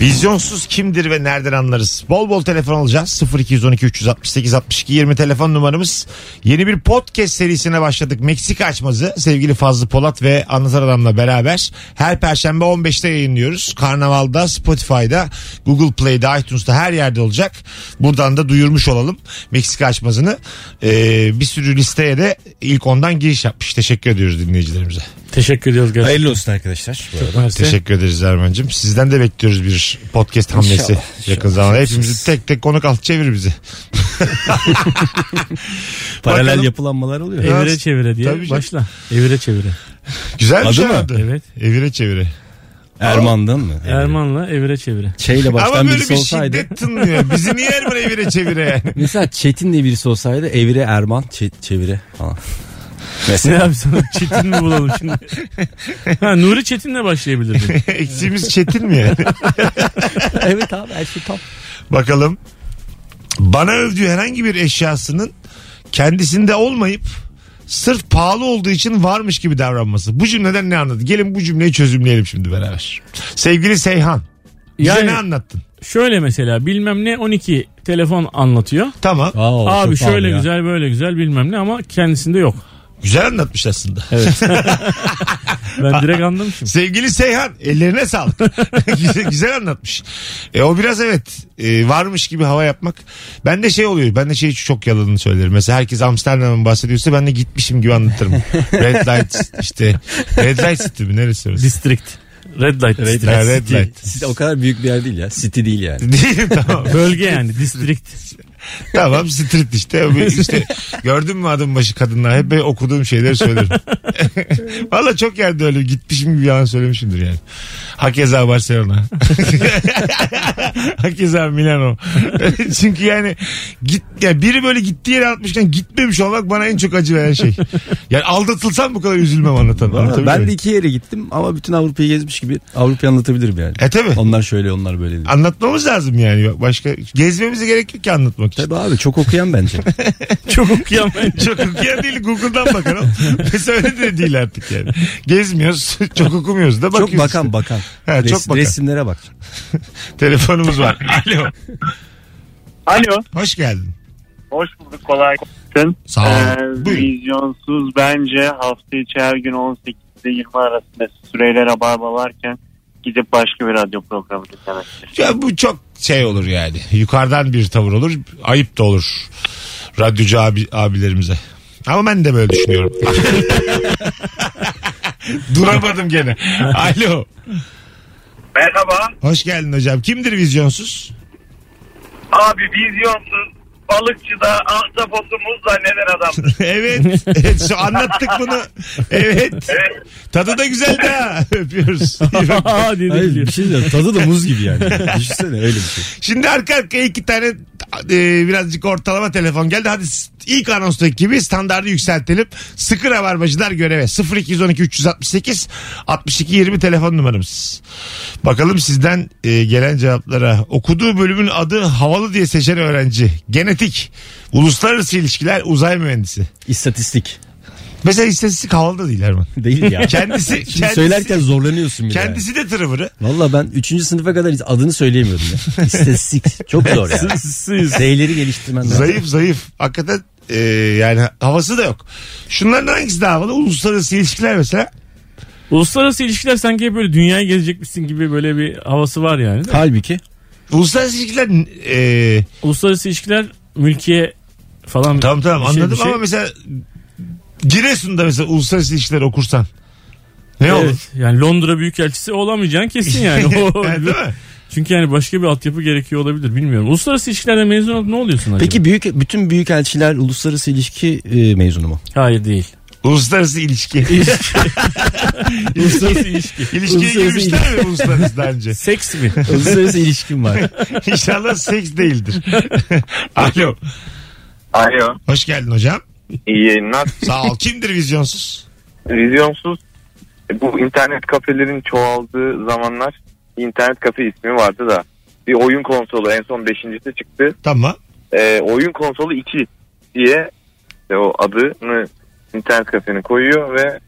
Vizyonsuz kimdir ve nereden anlarız? Bol bol telefon alacağız. 0212 368 62 20 telefon numaramız. Yeni bir podcast serisine başladık. Meksika açmazı sevgili Fazlı Polat ve Anlatan Adam'la beraber her perşembe 15'te yayınlıyoruz. Karnaval'da, Spotify'da, Google Play'de, iTunes'ta her yerde olacak. Buradan da duyurmuş olalım Meksika açmazını. Ee, bir sürü listeye de ilk ondan giriş yapmış. Teşekkür ediyoruz dinleyicilerimize.
Teşekkür ediyoruz gerçekten.
Hayırlı olsun arkadaşlar.
Mersi.
Teşekkür ederiz Erman'cığım. Sizden de bekliyoruz bir podcast hamlesi
İnşallah,
yakın zamanda. Hepimizi tek tek konuk al çevir bizi.
Paralel
Bakalım.
yapılanmalar oluyor.
Evire çevire diye
Tabii canım.
başla. Evire çevire.
Güzel bir
Adı
şey
mı?
adı.
Evet.
Evire çevire.
Erman'dan mı?
Erman'la evire çevire.
Şeyle baştan
Ama böyle
birisi
bir
olsaydı.
şiddet tınlıyor. Bizi niye Erman'a evire çevire yani?
Mesela Çetin diye birisi olsaydı Evire Erman çe- çevire falan.
Ne
Mesela
abi sana Çetin mi bulalım şimdi? ha, Nuri Çetin'le başlayabilirdin.
Eksiğimiz çetin mi yani?
evet abi her şey tam.
Bakalım. Bana övdüğü herhangi bir eşyasının kendisinde olmayıp sırf pahalı olduğu için varmış gibi davranması. Bu cümleden ne anladı? Gelin bu cümleyi çözümleyelim şimdi beraber. Sevgili Seyhan. Bize
Yani-
ne anlattın?
Şöyle mesela bilmem ne 12 telefon anlatıyor.
Tamam.
Aa,
abi
çok pahalı
şöyle
ya.
güzel böyle güzel bilmem ne ama kendisinde yok.
Güzel anlatmış aslında.
Ben direkt anlamışım.
Sevgili Seyhan ellerine sağlık. güzel, güzel anlatmış. E, o biraz evet e, varmış gibi hava yapmak. Ben de şey oluyor. Ben de şey çok yalanını söylerim. Mesela herkes Amsterdam'ın bahsediyorsa ben de gitmişim gibi anlatırım. Red Light işte. Red Light City mi neresi orası?
District. Red Light. District.
Ha, Red Light.
City o kadar büyük bir yer değil ya. City değil yani.
Değil tamam.
Bölge yani district.
tamam street işte. O bir- işte gördün mü adım başı kadınlar hep böyle okuduğum şeyleri söylerim. Valla çok yerde öyle gitmişim gibi yalan söylemişimdir yani. Hakeza Barcelona. Hakeza Milano. Çünkü yani git ya biri böyle gittiği yere atmışken gitmemiş olmak bana en çok acı veren şey. Yani aldatılsam bu kadar üzülmem anlatan.
Valla
anlatabiliyor
ben
muyum?
de iki yere gittim ama bütün Avrupa'yı gezmiş gibi Avrupa'yı anlatabilirim yani.
E tabi.
Onlar şöyle onlar böyle değil.
Anlatmamız lazım yani. Başka gezmemize gerek yok ki anlatmak için.
Tabii abi çok okuyan bence.
Çok okuyan ben.
Çok okuyan değil Google'dan bakan. oğlum. Mesela öyle de değil artık yani. Gezmiyoruz, çok okumuyoruz da bakıyoruz.
çok bakan bakan.
Ha, çok
Res-
bakan.
Resimlere bak.
işte. Telefonumuz var. Alo.
Alo.
Hoş geldin.
Hoş bulduk. Kolay gelsin.
Sağ ol.
Ee,
Buyurun.
Ee, vizyonsuz bence hafta içi her gün 18 ile 20 arasında süreyle rabarba varken gidip başka bir radyo programı dinlemektir.
Ya bu çok şey olur yani. Yukarıdan bir tavır olur. Ayıp da olur. Radyocu abi, abilerimize. Ama ben de böyle düşünüyorum. Duramadım gene. Alo.
Merhaba.
Hoş geldin hocam. Kimdir vizyonsuz?
Abi vizyonsuz balıkçıda ahtapotu muz zanneden adam.
evet. evet. Şu anlattık bunu. Evet.
Evet.
Tadı da güzel de ha. Öpüyoruz. İyi bak.
Aa diye de
Hayır
gülüyor.
bir şey diyeceğim. Tadı da muz gibi yani. Düşünsene öyle bir şey.
Şimdi arka arkaya iki tane e, birazcık ortalama telefon geldi. Hadi s- ilk anonstaki gibi standartı yükseltelim. Sıkı rabarbacılar göreve. 0212 368 62 20 telefon numaramız. Bakalım sizden e, gelen cevaplara. Okuduğu bölümün adı havalı diye seçen öğrenci. Genetik. Uluslararası ilişkiler uzay mühendisi.
İstatistik.
Mesela istatistik havalı da değil Erman.
Değil ya.
Kendisi,
Şimdi
kendisi,
söylerken zorlanıyorsun bile.
kendisi de tırıvırı.
Valla ben 3. sınıfa kadar hiç adını söyleyemiyordum ya. İstatistik. Çok zor ya. Z'leri geliştirmen lazım.
Zayıf zayıf. Hakikaten e, yani havası da yok. Şunların hangisi daha havalı? Uluslararası ilişkiler mesela.
Uluslararası ilişkiler sanki hep böyle dünyayı gezecekmişsin gibi böyle bir havası var yani. de.
Halbuki
Uluslararası ilişkiler e,
Uluslararası ilişkiler mülkiye falan.
tamam tamam
bir şey,
anladım
bir şey.
ama mesela Giresun'da mesela uluslararası ilişkiler okursan ne
Evet,
olur?
Yani Londra Büyükelçisi olamayacağın kesin yani. O-
Yani değil mi?
Çünkü yani başka bir altyapı gerekiyor olabilir bilmiyorum. Uluslararası ilişkilerde mezun olup ne oluyorsun acaba?
Peki büyük bütün büyük elçiler uluslararası ilişki e, mezunu mu?
Hayır değil.
Uluslararası ilişki.
Uluslararası ilişki.
İlişkiye
Uluslararası
girmişler mi uluslararası daha önce?
Seks mi?
uluslararası ilişkim var.
İnşallah seks değildir. Alo.
Alo.
Hoş geldin hocam.
İyi yayınlar.
Sağ ol. Kimdir vizyonsuz?
Vizyonsuz e, bu internet kafelerin çoğaldığı zamanlar internet kafe ismi vardı da bir oyun konsolu en son beşincisi çıktı.
Tamam.
E, oyun konsolu 2 diye e, o adını internet kafenin koyuyor ve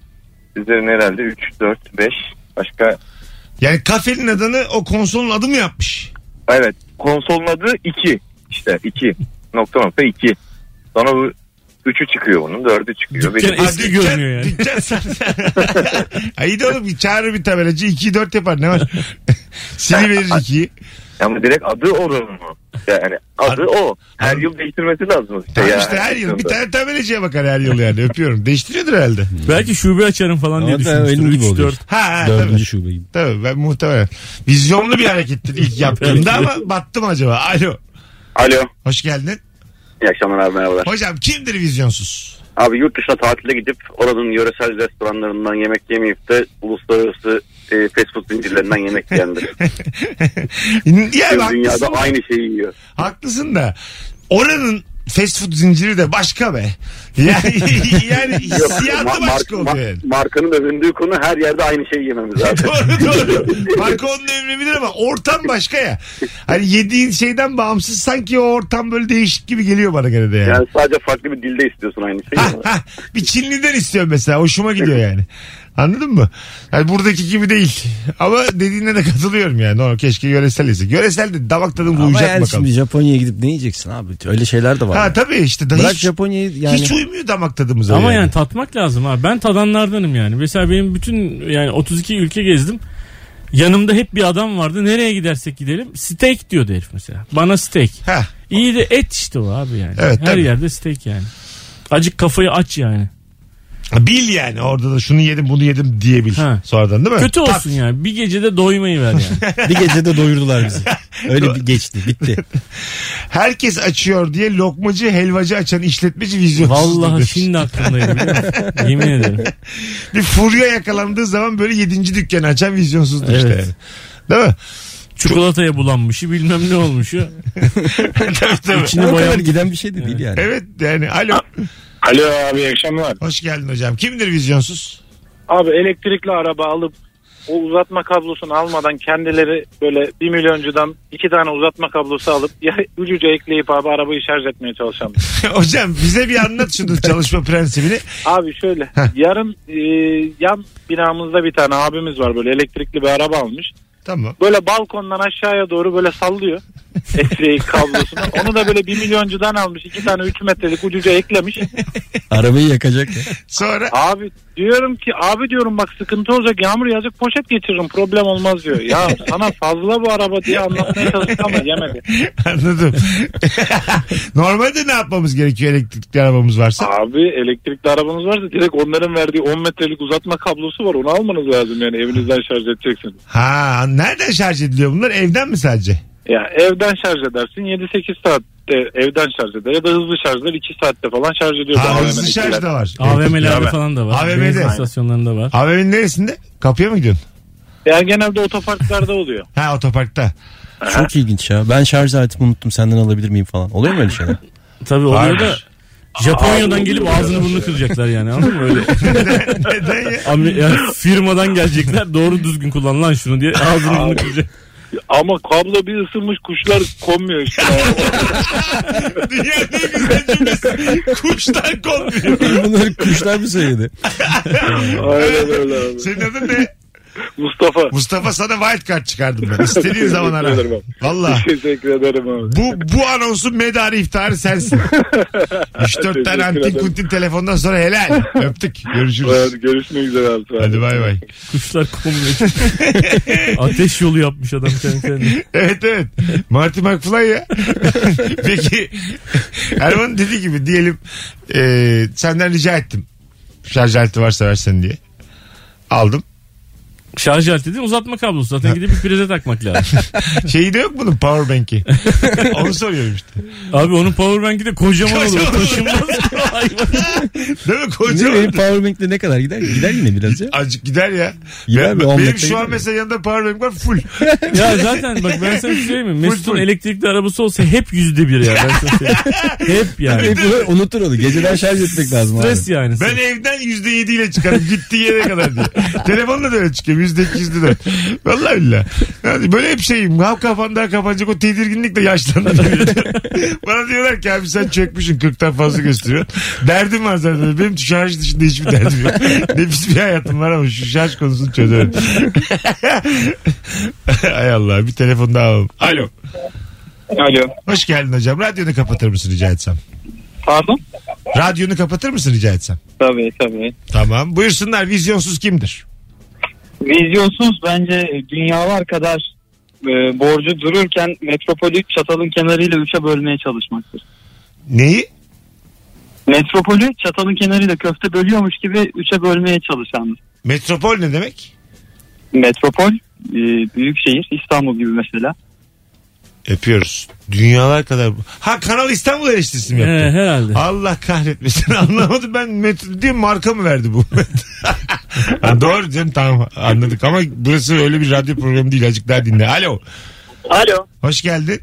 üzerine herhalde 3, 4, 5 başka
Yani kafenin adını o konsolun adı mı yapmış?
evet konsolun adı 2 işte 2 nokta nokta 2 sonra bu 3'ü çıkıyor bunun 4'ü çıkıyor.
Dükkan
beşi-
Eski görünüyor yani.
Dükkan sen. İyi de oğlum bir çağırır bir tabelacı. 2'yi 4 yapar ne var? Sili verir 2'yi.
Ama direkt adı oranın mı? Yani adı o. Her
Ar-
yıl değiştirmesi lazım işte.
Tamam
ya.
işte her yıl. Bir tane tabelacıya bakar her yıl yani. Öpüyorum. Değiştiriyordur herhalde.
Belki şube açarım falan diye
Ama da
düşünmüştüm.
öyle gibi
3,
oluyor.
4.
Ha, ha tabii.
Dördüncü şube gibi.
Tabii ben muhtemelen. Vizyonlu bir harekettir ilk yaptığımda ama battım acaba. Alo.
Alo.
Hoş geldin.
İyi akşamlar abi merhabalar.
Hocam kimdir vizyonsuz?
Abi yurt dışına tatile gidip oranın yöresel restoranlarından yemek yemeyip de uluslararası e, fast food zincirlerinden yemek yiyendir.
Yani
Tüm dünyada aynı şeyi yiyor.
Haklısın da oranın fast food zinciri de başka be. Yani, yani hissiyatı başka oluyor. yani.
markanın övündüğü konu her yerde aynı şeyi yememiz zaten.
doğru doğru. Marka onun ömrebilir ama ortam başka ya. Hani yediğin şeyden bağımsız sanki o ortam böyle değişik gibi geliyor bana gene de yani.
Yani sadece farklı bir dilde istiyorsun aynı şeyi.
Ha, ha. bir Çinliden istiyorum mesela. Hoşuma gidiyor yani. Anladın mı? Yani buradaki gibi değil. Ama dediğine de katılıyorum yani. Doğru, keşke yöresel yesek. Yöresel de damak tadım
Ama
uyacak
yani
bakalım.
şimdi Japonya'ya gidip ne yiyeceksin abi? Öyle şeyler de var.
Ha
yani.
tabii işte. Da
Bırak
hiç,
Japonya'yı yani.
hiç uymuyor damak tadımıza.
Ama yani. tatmak lazım ha. Ben tadanlardanım yani. Mesela benim bütün yani 32 ülke gezdim. Yanımda hep bir adam vardı. Nereye gidersek gidelim steak diyordu herif mesela. Bana steak.
Heh.
İyi de et işte o abi yani.
Evet,
Her
tabii.
yerde steak yani. Acık kafayı aç yani.
Bil yani orada da şunu yedim bunu yedim diyebil.
Ha.
Sonradan değil mi?
Kötü
Tat-
olsun yani. Bir gecede doymayı ver yani.
bir gecede doyurdular bizi. Öyle bir geçti bitti.
Herkes açıyor diye lokmacı helvacı açan işletmeci vizyonsuzdur.
Vallahi
demiş.
şimdi aklımdaydı biliyor musun? Yemin ederim.
Bir furya yakalandığı zaman böyle yedinci dükkanı açan vizyonsuzdur işte.
Evet.
yani. Değil mi?
Çikolataya bulanmışı bilmem ne olmuşu.
tabii tabii.
O
İçine
kadar
bayan
giden bir şey de değil yani.
Evet yani alo.
Alo abi iyi akşamlar.
Hoş geldin hocam. Kimdir vizyonsuz?
Abi elektrikli araba alıp o uzatma kablosunu almadan kendileri böyle bir milyoncudan iki tane uzatma kablosu alıp ya ucuca ekleyip abi arabayı şarj etmeye çalışan.
hocam bize bir anlat şunu çalışma prensibini.
Abi şöyle yarın e, yan binamızda bir tane abimiz var böyle elektrikli bir araba almış.
Tamam.
Böyle balkondan aşağıya doğru böyle sallıyor elektriği kablosunu. Onu da böyle bir milyoncudan almış iki tane 3 metrelik ucuca eklemiş.
Arabayı yakacak ya.
Sonra
Abi diyorum ki abi diyorum bak sıkıntı olacak yağmur yağacak poşet geçiririm problem olmaz diyor. Ya sana fazla bu araba diye anlatmaya çalıştı ama yemedi.
anladım. Normalde ne yapmamız gerekiyor elektrikli arabamız varsa?
Abi elektrikli arabanız varsa direkt onların verdiği 10 metrelik uzatma kablosu var onu almanız lazım yani evinizden şarj edeceksiniz.
Ha nereden şarj ediliyor bunlar? Evden mi sadece?
Ya evden şarj edersin 7-8 saatte e, evden şarj eder ya da hızlı şarjlar 2 saatte falan şarj ediyor.
Ha,
Daha
hızlı
hemen
şarj
etkiler.
da var.
AVM'lerde falan da var.
AVM'de.
Benzin istasyonlarında var.
AVM'nin neresinde? Kapıya mı gidiyorsun?
Yani genelde otoparklarda oluyor.
Ha otoparkta.
Çok ilginç ya. Ben şarj aletimi unuttum senden alabilir miyim falan. Oluyor mu öyle şeyler?
Tabii oluyor
Varmış.
da Japonya'dan
Abi,
gelip
oluyor
ağzını burnunu kıracaklar yani anladın mı öyle?
Neden ya?
Abi, yani firmadan gelecekler doğru düzgün kullan lan şunu diye ağzını burnunu kıracak.
Ama kablo bir ısınmış kuşlar konmuyor işte.
Dünya ne güzel cümlesi. Kuştan konmuyor.
Bunları kuşlar mı söyledi?
Aynen öyle abi.
Senin adın ne?
Mustafa.
Mustafa sana wild card çıkardım ben. İstediğin zaman ara.
Teşekkür ederim abi.
Valla.
Teşekkür ederim abi.
Bu, bu anonsun medarı iftiharı sensin. 3-4
Teşekkür
tane antin
ederim.
kuntin telefondan sonra helal. Öptük. Görüşürüz.
Evet, Görüşmek üzere abi.
Hadi bay bay.
Kuşlar konmuyor. Ateş yolu yapmış adam kendi kendine.
Evet evet. Marty McFly ya. Peki Erman dediği gibi diyelim e, senden rica ettim. Şarj aleti varsa versen diye. Aldım.
Şarj aleti değil uzatma kablosu zaten gidip bir prize takmak lazım.
Şeyi de yok bunun powerbank'i. Onu soruyorum işte.
Abi onun powerbank'i de kocaman
Kocaman
oluyor.
olur.
Taşınmaz. Hayvan.
Değil mi
Ne
kocaman?
benim powerbank'le ne kadar gider? Gider yine biraz ya.
Azıcık gider ya.
Gider
Ben-
mi? On
benim
metre
şu
gider
an
mi?
mesela yanında powerbank var full.
Ya zaten bak ben sana şey söyleyeyim mi? Mesut'un
full.
elektrikli arabası olsa hep yüzde bir ya. Ben sana söyleyeyim. hep yani.
Hep bunu unutur onu. Geceden şarj etmek lazım abi.
Stres yani.
Ben evden yüzde ile çıkarım gittiği yere kadar diye. Telefonla da öyle çıkıyorum yüzde iki yüzde dört. Vallahi billahi. Yani böyle hep şeyim. Hav kafanda kapanacak o tedirginlik de yaşlandı. Bana diyorlar ki abi sen çökmüşsün 40'tan fazla gösteriyorsun. Derdim var zaten. Benim şarj dışında hiçbir derdim yok. Nefis bir hayatım var ama şu şarj konusunu çözerim. Ay Allah bir telefon daha alalım. Alo.
Alo.
Hoş geldin hocam. Radyonu kapatır mısın rica etsem?
Pardon?
Radyonu kapatır mısın rica etsem?
Tabii tabii.
Tamam. Buyursunlar vizyonsuz kimdir?
Vizyonsuz bence dünyalar kadar e, borcu dururken metropolü çatalın kenarıyla üçe bölmeye çalışmaktır.
Neyi?
Metropolü çatalın kenarıyla köfte bölüyormuş gibi üçe bölmeye çalışan.
Metropol ne demek?
e, Metropol büyük şehir İstanbul gibi mesela.
Öpüyoruz. Dünyalar kadar. Ha Kanal İstanbul eleştirisi mi yaptı?
He, herhalde.
Allah kahretmesin anlamadım ben metro diye marka mı verdi bu? ha, doğru canım tamam anladık ama burası öyle bir radyo programı değil azıcık daha dinle. Alo.
Alo.
Hoş geldin.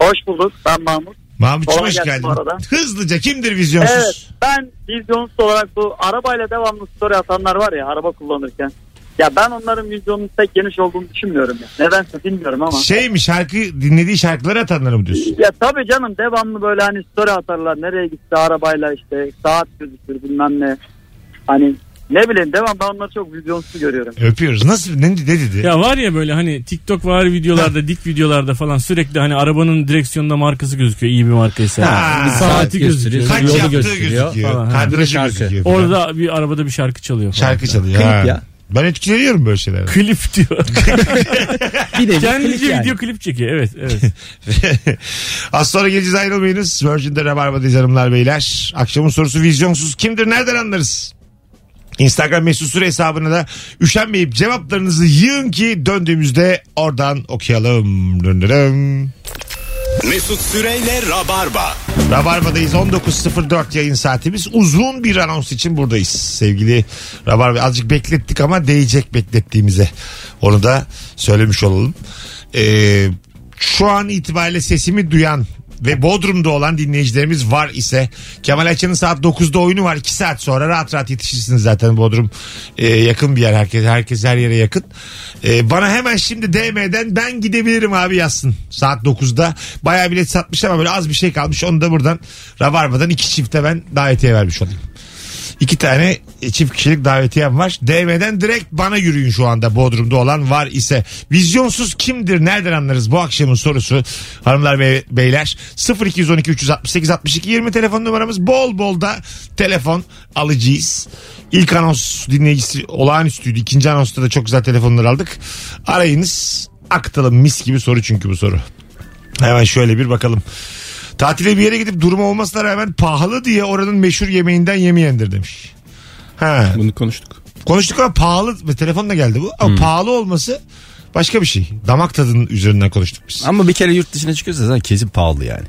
Hoş bulduk. Ben Mahmut.
Mahmut'cum
Kolay
hoş
gelsin
geldin.
bu arada.
Hızlıca kimdir vizyonsuz?
Evet ben vizyonsuz olarak bu arabayla devamlı story atanlar var ya araba kullanırken. Ya ben onların vizyonunun pek geniş olduğunu düşünmüyorum ya. Nedense bilmiyorum ama.
Şey mi şarkı dinlediği şarkıları atanları mı diyorsun?
Ya tabii canım devamlı böyle hani story atarlar. Nereye gitti arabayla işte saat gözükür bilmem ne. Hani ne bileyim devam ben onları çok vizyonsuz görüyorum.
Öpüyoruz. Nasıl ne, ne dedi?
Ya var ya böyle hani TikTok var videolarda dik videolarda falan sürekli hani arabanın direksiyonunda markası gözüküyor iyi bir markaysa.
Ha,
saati gözüküyor.
Kaç
yolu
yaptığı
gösteriyor
gözüküyor.
falan.
Kadrajı
Şarkı.
gözüküyor falan.
Orada bir arabada bir şarkı çalıyor. Falan.
Şarkı çalıyor.
Klip
ha.
ya.
Ben etkileniyorum böyle şeylerden.
Klip diyor.
Bir de
Kendince video klip çekiyor. Evet evet.
Az sonra geleceğiz ayrılmayınız. Virgin'de Rabarba'dayız hanımlar beyler. Akşamın sorusu vizyonsuz kimdir nereden anlarız? Instagram mesut süre hesabına da üşenmeyip cevaplarınızı yığın ki döndüğümüzde oradan okuyalım. Dın dın dın.
Mesut Süreyle Rabarba.
Rabarba'dayız 19.04 yayın saatimiz. Uzun bir anons için buradayız sevgili Rabarba. Azıcık beklettik ama değecek beklettiğimize. Onu da söylemiş olalım. Ee, şu an itibariyle sesimi duyan ve Bodrum'da olan dinleyicilerimiz var ise Kemal Ayça'nın saat 9'da oyunu var 2 saat sonra rahat rahat yetişirsiniz zaten Bodrum e, yakın bir yer herkes herkes her yere yakın E, bana hemen şimdi DM'den ben gidebilirim abi yazsın saat 9'da bayağı bilet satmış ama böyle az bir şey kalmış onu da buradan Rabarba'dan iki çifte ben davetiye vermiş olayım İki tane e, çift kişilik davetiyem var. DM'den direkt bana yürüyün şu anda Bodrum'da olan var ise. Vizyonsuz kimdir? Nereden anlarız? Bu akşamın sorusu hanımlar ve beyler 0212 368 62 20 telefon numaramız. Bol bol da telefon alacağız. İlk anons dinleyicisi olağanüstüydü. İkinci anonsta da çok güzel telefonlar aldık. Arayınız. Aktalım mis gibi soru çünkü bu soru. Hemen şöyle bir bakalım. Tatile bir yere gidip durumu olmasına rağmen pahalı diye oranın meşhur yemeğinden yemeyendir demiş. Ha.
Bunu Hmm. konuştuk.
Konuştuk ama pahalı. Telefonla geldi bu. Ama pahalı olması başka bir şey. Damak tadının üzerinden konuştuk biz.
Ama bir kere yurt dışına çıkıyorsa zaten kesin pahalı yani.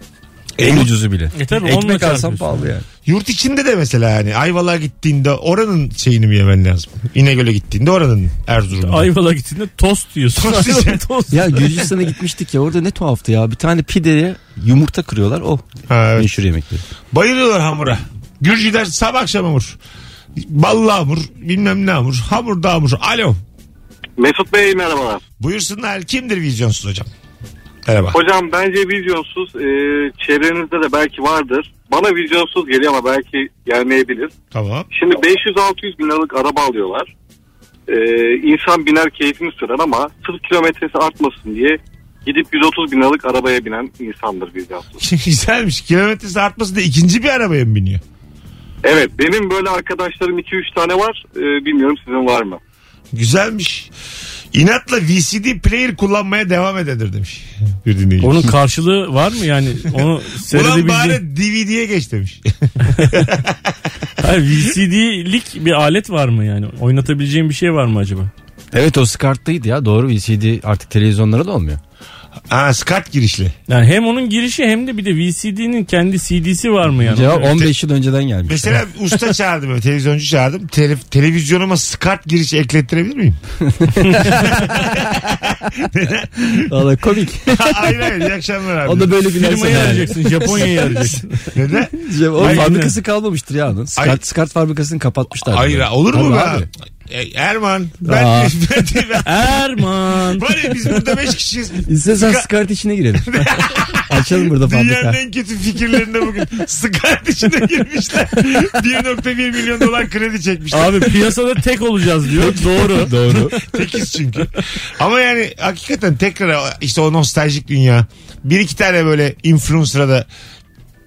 En ucuzu bile.
E tabii, onunla
Ekmek alsan
çarpıyorsun.
pahalı yani.
Yurt içinde de mesela hani Ayvalık'a gittiğinde oranın şeyini mi yemen lazım? İnegöl'e gittiğinde oranın Erzurum'da.
Ayvalık'a gittiğinde tost diyorsun.
Tost yiyeceksin.
Tost.
Ya Gürcistan'a gitmiştik ya orada ne tuhaftı ya. Bir tane pideye yumurta kırıyorlar o.
Ha, evet.
Meşhur yemekleri.
Bayılıyorlar hamura. Gürcüler sabah akşam hamur. Ballı hamur, bilmem ne hamur, hamur da hamur. Alo.
Mesut Bey merhabalar.
Buyursunlar. Kimdir vizyonsuz hocam? Merhaba.
Hocam bence vizyonsuz e, çevrenizde de belki vardır. Bana vizyonsuz geliyor ama belki gelmeyebilir.
Tamam.
Şimdi 500-600 bin liralık araba alıyorlar. E, insan biner keyfini sürer ama sırf kilometresi artmasın diye gidip 130 bin liralık arabaya binen insandır vizyonsuz.
Güzelmiş. Kilometresi artması da ikinci bir arabaya mı biniyor?
Evet benim böyle arkadaşlarım 2-3 tane var.
Ee,
E, bilmiyorum sizin var mı?
Güzelmiş. İnatla VCD player kullanmaya devam ededir demiş bir dinleyici.
Onun karşılığı var mı yani? Onu
Ulan
seyredebildiğin...
bari DVD'ye geç demiş.
Hayır, VCD'lik bir alet var mı yani? Oynatabileceğim bir şey var mı acaba?
Evet o Skart'taydı ya doğru VCD artık televizyonlara da olmuyor.
Aa SCART girişli.
Yani hem onun girişi hem de bir de VCD'nin kendi CD'si var mı yani?
Cevap 15 yıl önceden gelmiş.
Mesela usta çağırdım böyle televizyoncu çağırdım. Tele- televizyonuma SCART girişi eklettirebilir miyim?
Valla komik.
hayır hayır iyi akşamlar abi.
O da böyle bir
Firmayı arayacaksın, Japonya'yı arayacaksın.
Neden?
O
Hayır,
fabrikası kalmamıştır ya onun.
Hayır.
Skart, Skart fabrikasını kapatmışlar.
Hayır
Yani.
olur mu
Tabii
be?
abi.
E, Erman ben,
Aa.
ben, ben,
Erman.
var ya biz burada beş kişiyiz.
İstersen Skart içine girelim. Açalım burada
Dünyanın
fabrika.
en kötü fikirlerinde bugün SCART içine girmişler. 1.1 milyon dolar kredi çekmişler.
Abi piyasada tek olacağız diyor. Doğru.
Doğru.
Tekiz çünkü. Ama yani hakikaten tekrar işte o nostaljik dünya. Bir iki tane böyle influencer'a da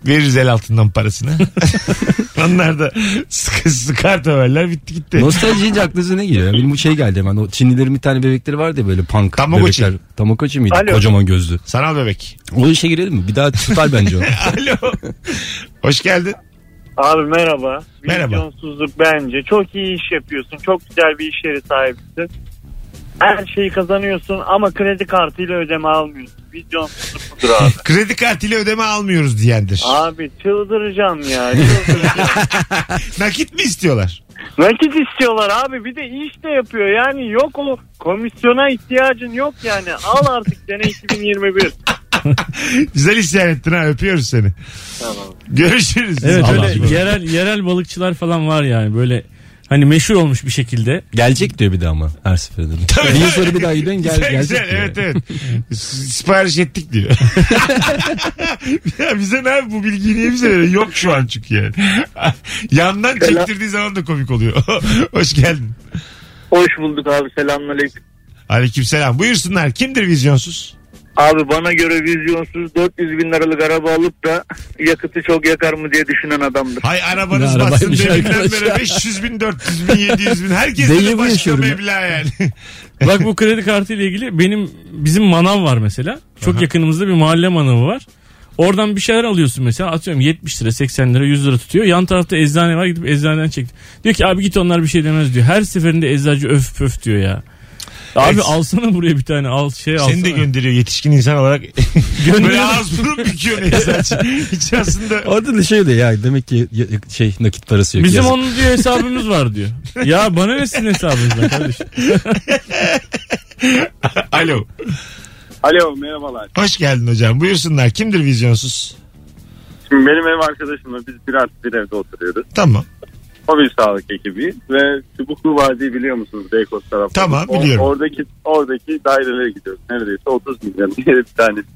veririz el altından parasını. Onlar da sıkı sıkar döverler bitti gitti.
Nostalji deyince aklınıza ne geliyor? Benim bu şey geldi hemen. O Çinlilerin bir tane bebekleri vardı ya böyle punk
Tamagotchi.
bebekler. Tamagotchi miydi?
Alo.
Kocaman gözlü.
Sanal bebek.
O işe girelim mi? Bir daha tutar bence onu.
Alo. Hoş geldin.
Abi merhaba.
Merhaba.
Vizyonsuzluk bence. Çok iyi iş yapıyorsun. Çok güzel bir iş yeri sahipsin. Her şeyi kazanıyorsun ama kredi kartıyla ödeme almıyorsun. Vizyonsuzluk bu yoktur abi.
Kredi kartıyla ödeme almıyoruz diyendir.
Abi çıldıracağım ya. çıldıracağım.
Nakit mi istiyorlar?
Nakit istiyorlar abi bir de iş de yapıyor yani yok o komisyona ihtiyacın yok yani al artık sene 2021.
Güzel isyan ettin ha öpüyoruz seni. Görüşürüz.
Evet
Allah
öyle
Allah.
yerel, yerel balıkçılar falan var yani böyle hani meşhur olmuş bir şekilde.
Gelecek diyor bir daha ama her seferinde. Bir yıl sonra bir daha gidiyorsun gel,
Güzel,
gelecek
güzel,
diyor.
evet evet. S- Sipariş ettik diyor. ya bize ne abi bu bilgiyi niye bize veriyor? Yok şu an çünkü yani. Yandan çektirdiği zaman da komik oluyor. Hoş geldin.
Hoş bulduk abi selamünaleyküm.
Aleykümselam. Buyursunlar. Kimdir vizyonsuz?
Abi bana göre vizyonsuz 400 bin liralık araba alıp da yakıtı çok yakar mı diye düşünen adamdır.
Hay arabanız
Ne
batsın
arabaymış
deminden
arkadaş
beri
ya.
500 bin, 400 bin, 700 bin. Herkes
Deli
de
mi
başka
yaşıyorum ya?
meblağ yani.
Bak bu kredi kartı ile ilgili benim bizim manav var mesela. Çok yakınımızda bir mahalle manavı var. Oradan bir şeyler alıyorsun mesela atıyorum 70 lira 80 lira 100 lira tutuyor. Yan tarafta eczane var gidip eczaneden çek. Diyor ki abi git onlar bir şey demez diyor. Her seferinde eczacı öf pöf diyor ya. Abi
Evet.
alsana buraya bir tane al şey alsana.
Seni de gönderiyor yetişkin insan olarak.
Gönderiyor.
Böyle ağız burun büküyor neyse. Hiç aslında
Orada da şey de ya demek ki ya- şey nakit parası yok.
Bizim
Yazık.
onun diyor hesabımız var diyor. Ya bana ne sizin hesabınızdan kardeşim?
Alo.
Alo merhabalar.
Hoş geldin hocam. Buyursunlar. Kimdir vizyonsuz?
Şimdi benim ev arkadaşımla biz bir artı bir evde oturuyoruz.
Tamam.
Mobil sağlık ekibi ve Çubuklu Vadi'yi biliyor musunuz Beykoz tarafı?
Tamam, biliyorum.
oradaki oradaki dairelere gidiyoruz. Neredeyse 30 milyon diye bir tanesi.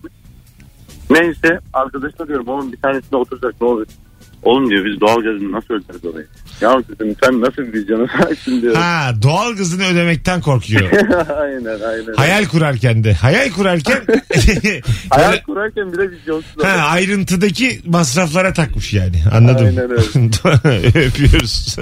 Neyse arkadaşına diyorum oğlum bir tanesinde oturacak ne olur. Oğlum diyor biz doğalgazını nasıl öderiz orayı? Ya dedim sen nasıl bir vizyona sahipsin diyorum.
Ha doğal gazını ödemekten korkuyor.
aynen aynen.
Hayal kurarken de. Hayal kurarken
Hayal kurarken bile vizyonsuz.
ha, ayrıntıdaki masraflara takmış yani. Anladım.
Aynen
Öpüyoruz.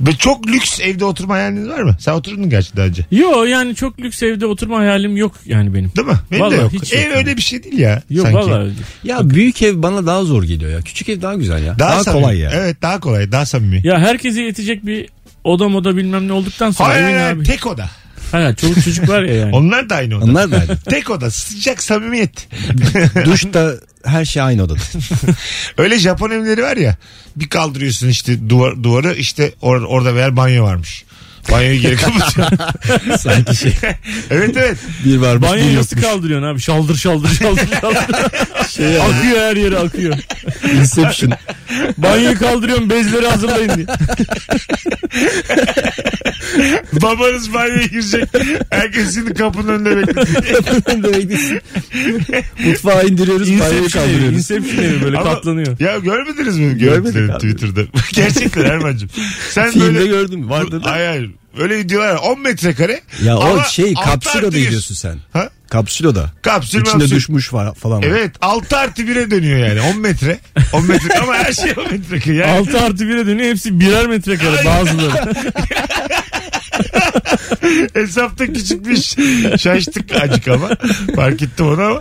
Ve çok lüks evde oturma hayaliniz var mı? Sen oturdun gerçi daha önce.
Yo yani çok lüks evde oturma hayalim yok yani benim.
Değil mi? Benim
Vallahi
de yok.
hiç
Ev
yok.
öyle bir şey değil ya.
Yok
sanki.
vallahi öyle.
Ya büyük ev bana daha zor geliyor ya. Küçük ev daha güzel ya. Daha,
samimi.
kolay ya.
Evet daha kolay daha samimi.
Ya herkese yetecek bir oda moda bilmem ne olduktan sonra
Hayır
evin
hayır, hayır
abi.
tek oda.
Hayır çoluk çocuk var ya yani.
Onlar da aynı oda.
Onlar da aynı.
tek oda sıcak samimiyet.
Duş da her şey aynı odada.
Öyle Japon evleri var ya. Bir kaldırıyorsun işte duvar, duvarı işte or- orada meğer banyo varmış. Banyoyu geri kapatıyorsun.
Sanki şey.
evet evet.
Bir varmış bir
Banyoyu nasıl
yokmuş.
kaldırıyorsun abi? Şaldır şaldır şaldır şaldır.
Şey yani.
akıyor her yere akıyor.
Inception.
Banyoyu kaldırıyorum bezleri hazırlayın diye.
Babanız banyoya girecek. Herkes şimdi kapının önünde bekliyor.
Mutfağa indiriyoruz banyoyu
Inception evi,
kaldırıyoruz.
Inception evi böyle
Ama-
katlanıyor.
Ya görmediniz mi
Görmedik
görüntüleri
abi.
Twitter'da? Gerçekten Erman'cığım. Sen
Filmde
böyle...
gördüm. Vardı da.
Hayır hayır. Öyle videolar var. 10 metrekare.
Ya o
Ama
şey
altı
kapsül
artı
oda
yüz.
diyorsun sen.
Ha?
Kapsül oda.
Kapsül
İçinde
mapsül.
düşmüş var falan var.
Evet 6 artı 1'e dönüyor yani 10 metre. 10 metre ama her şey 10 metre. Yani
6 artı 1'e dönüyor hepsi birer metrekare bazıları.
Hesapta küçük bir ş- şaştık acık ama. Fark ettim onu ama.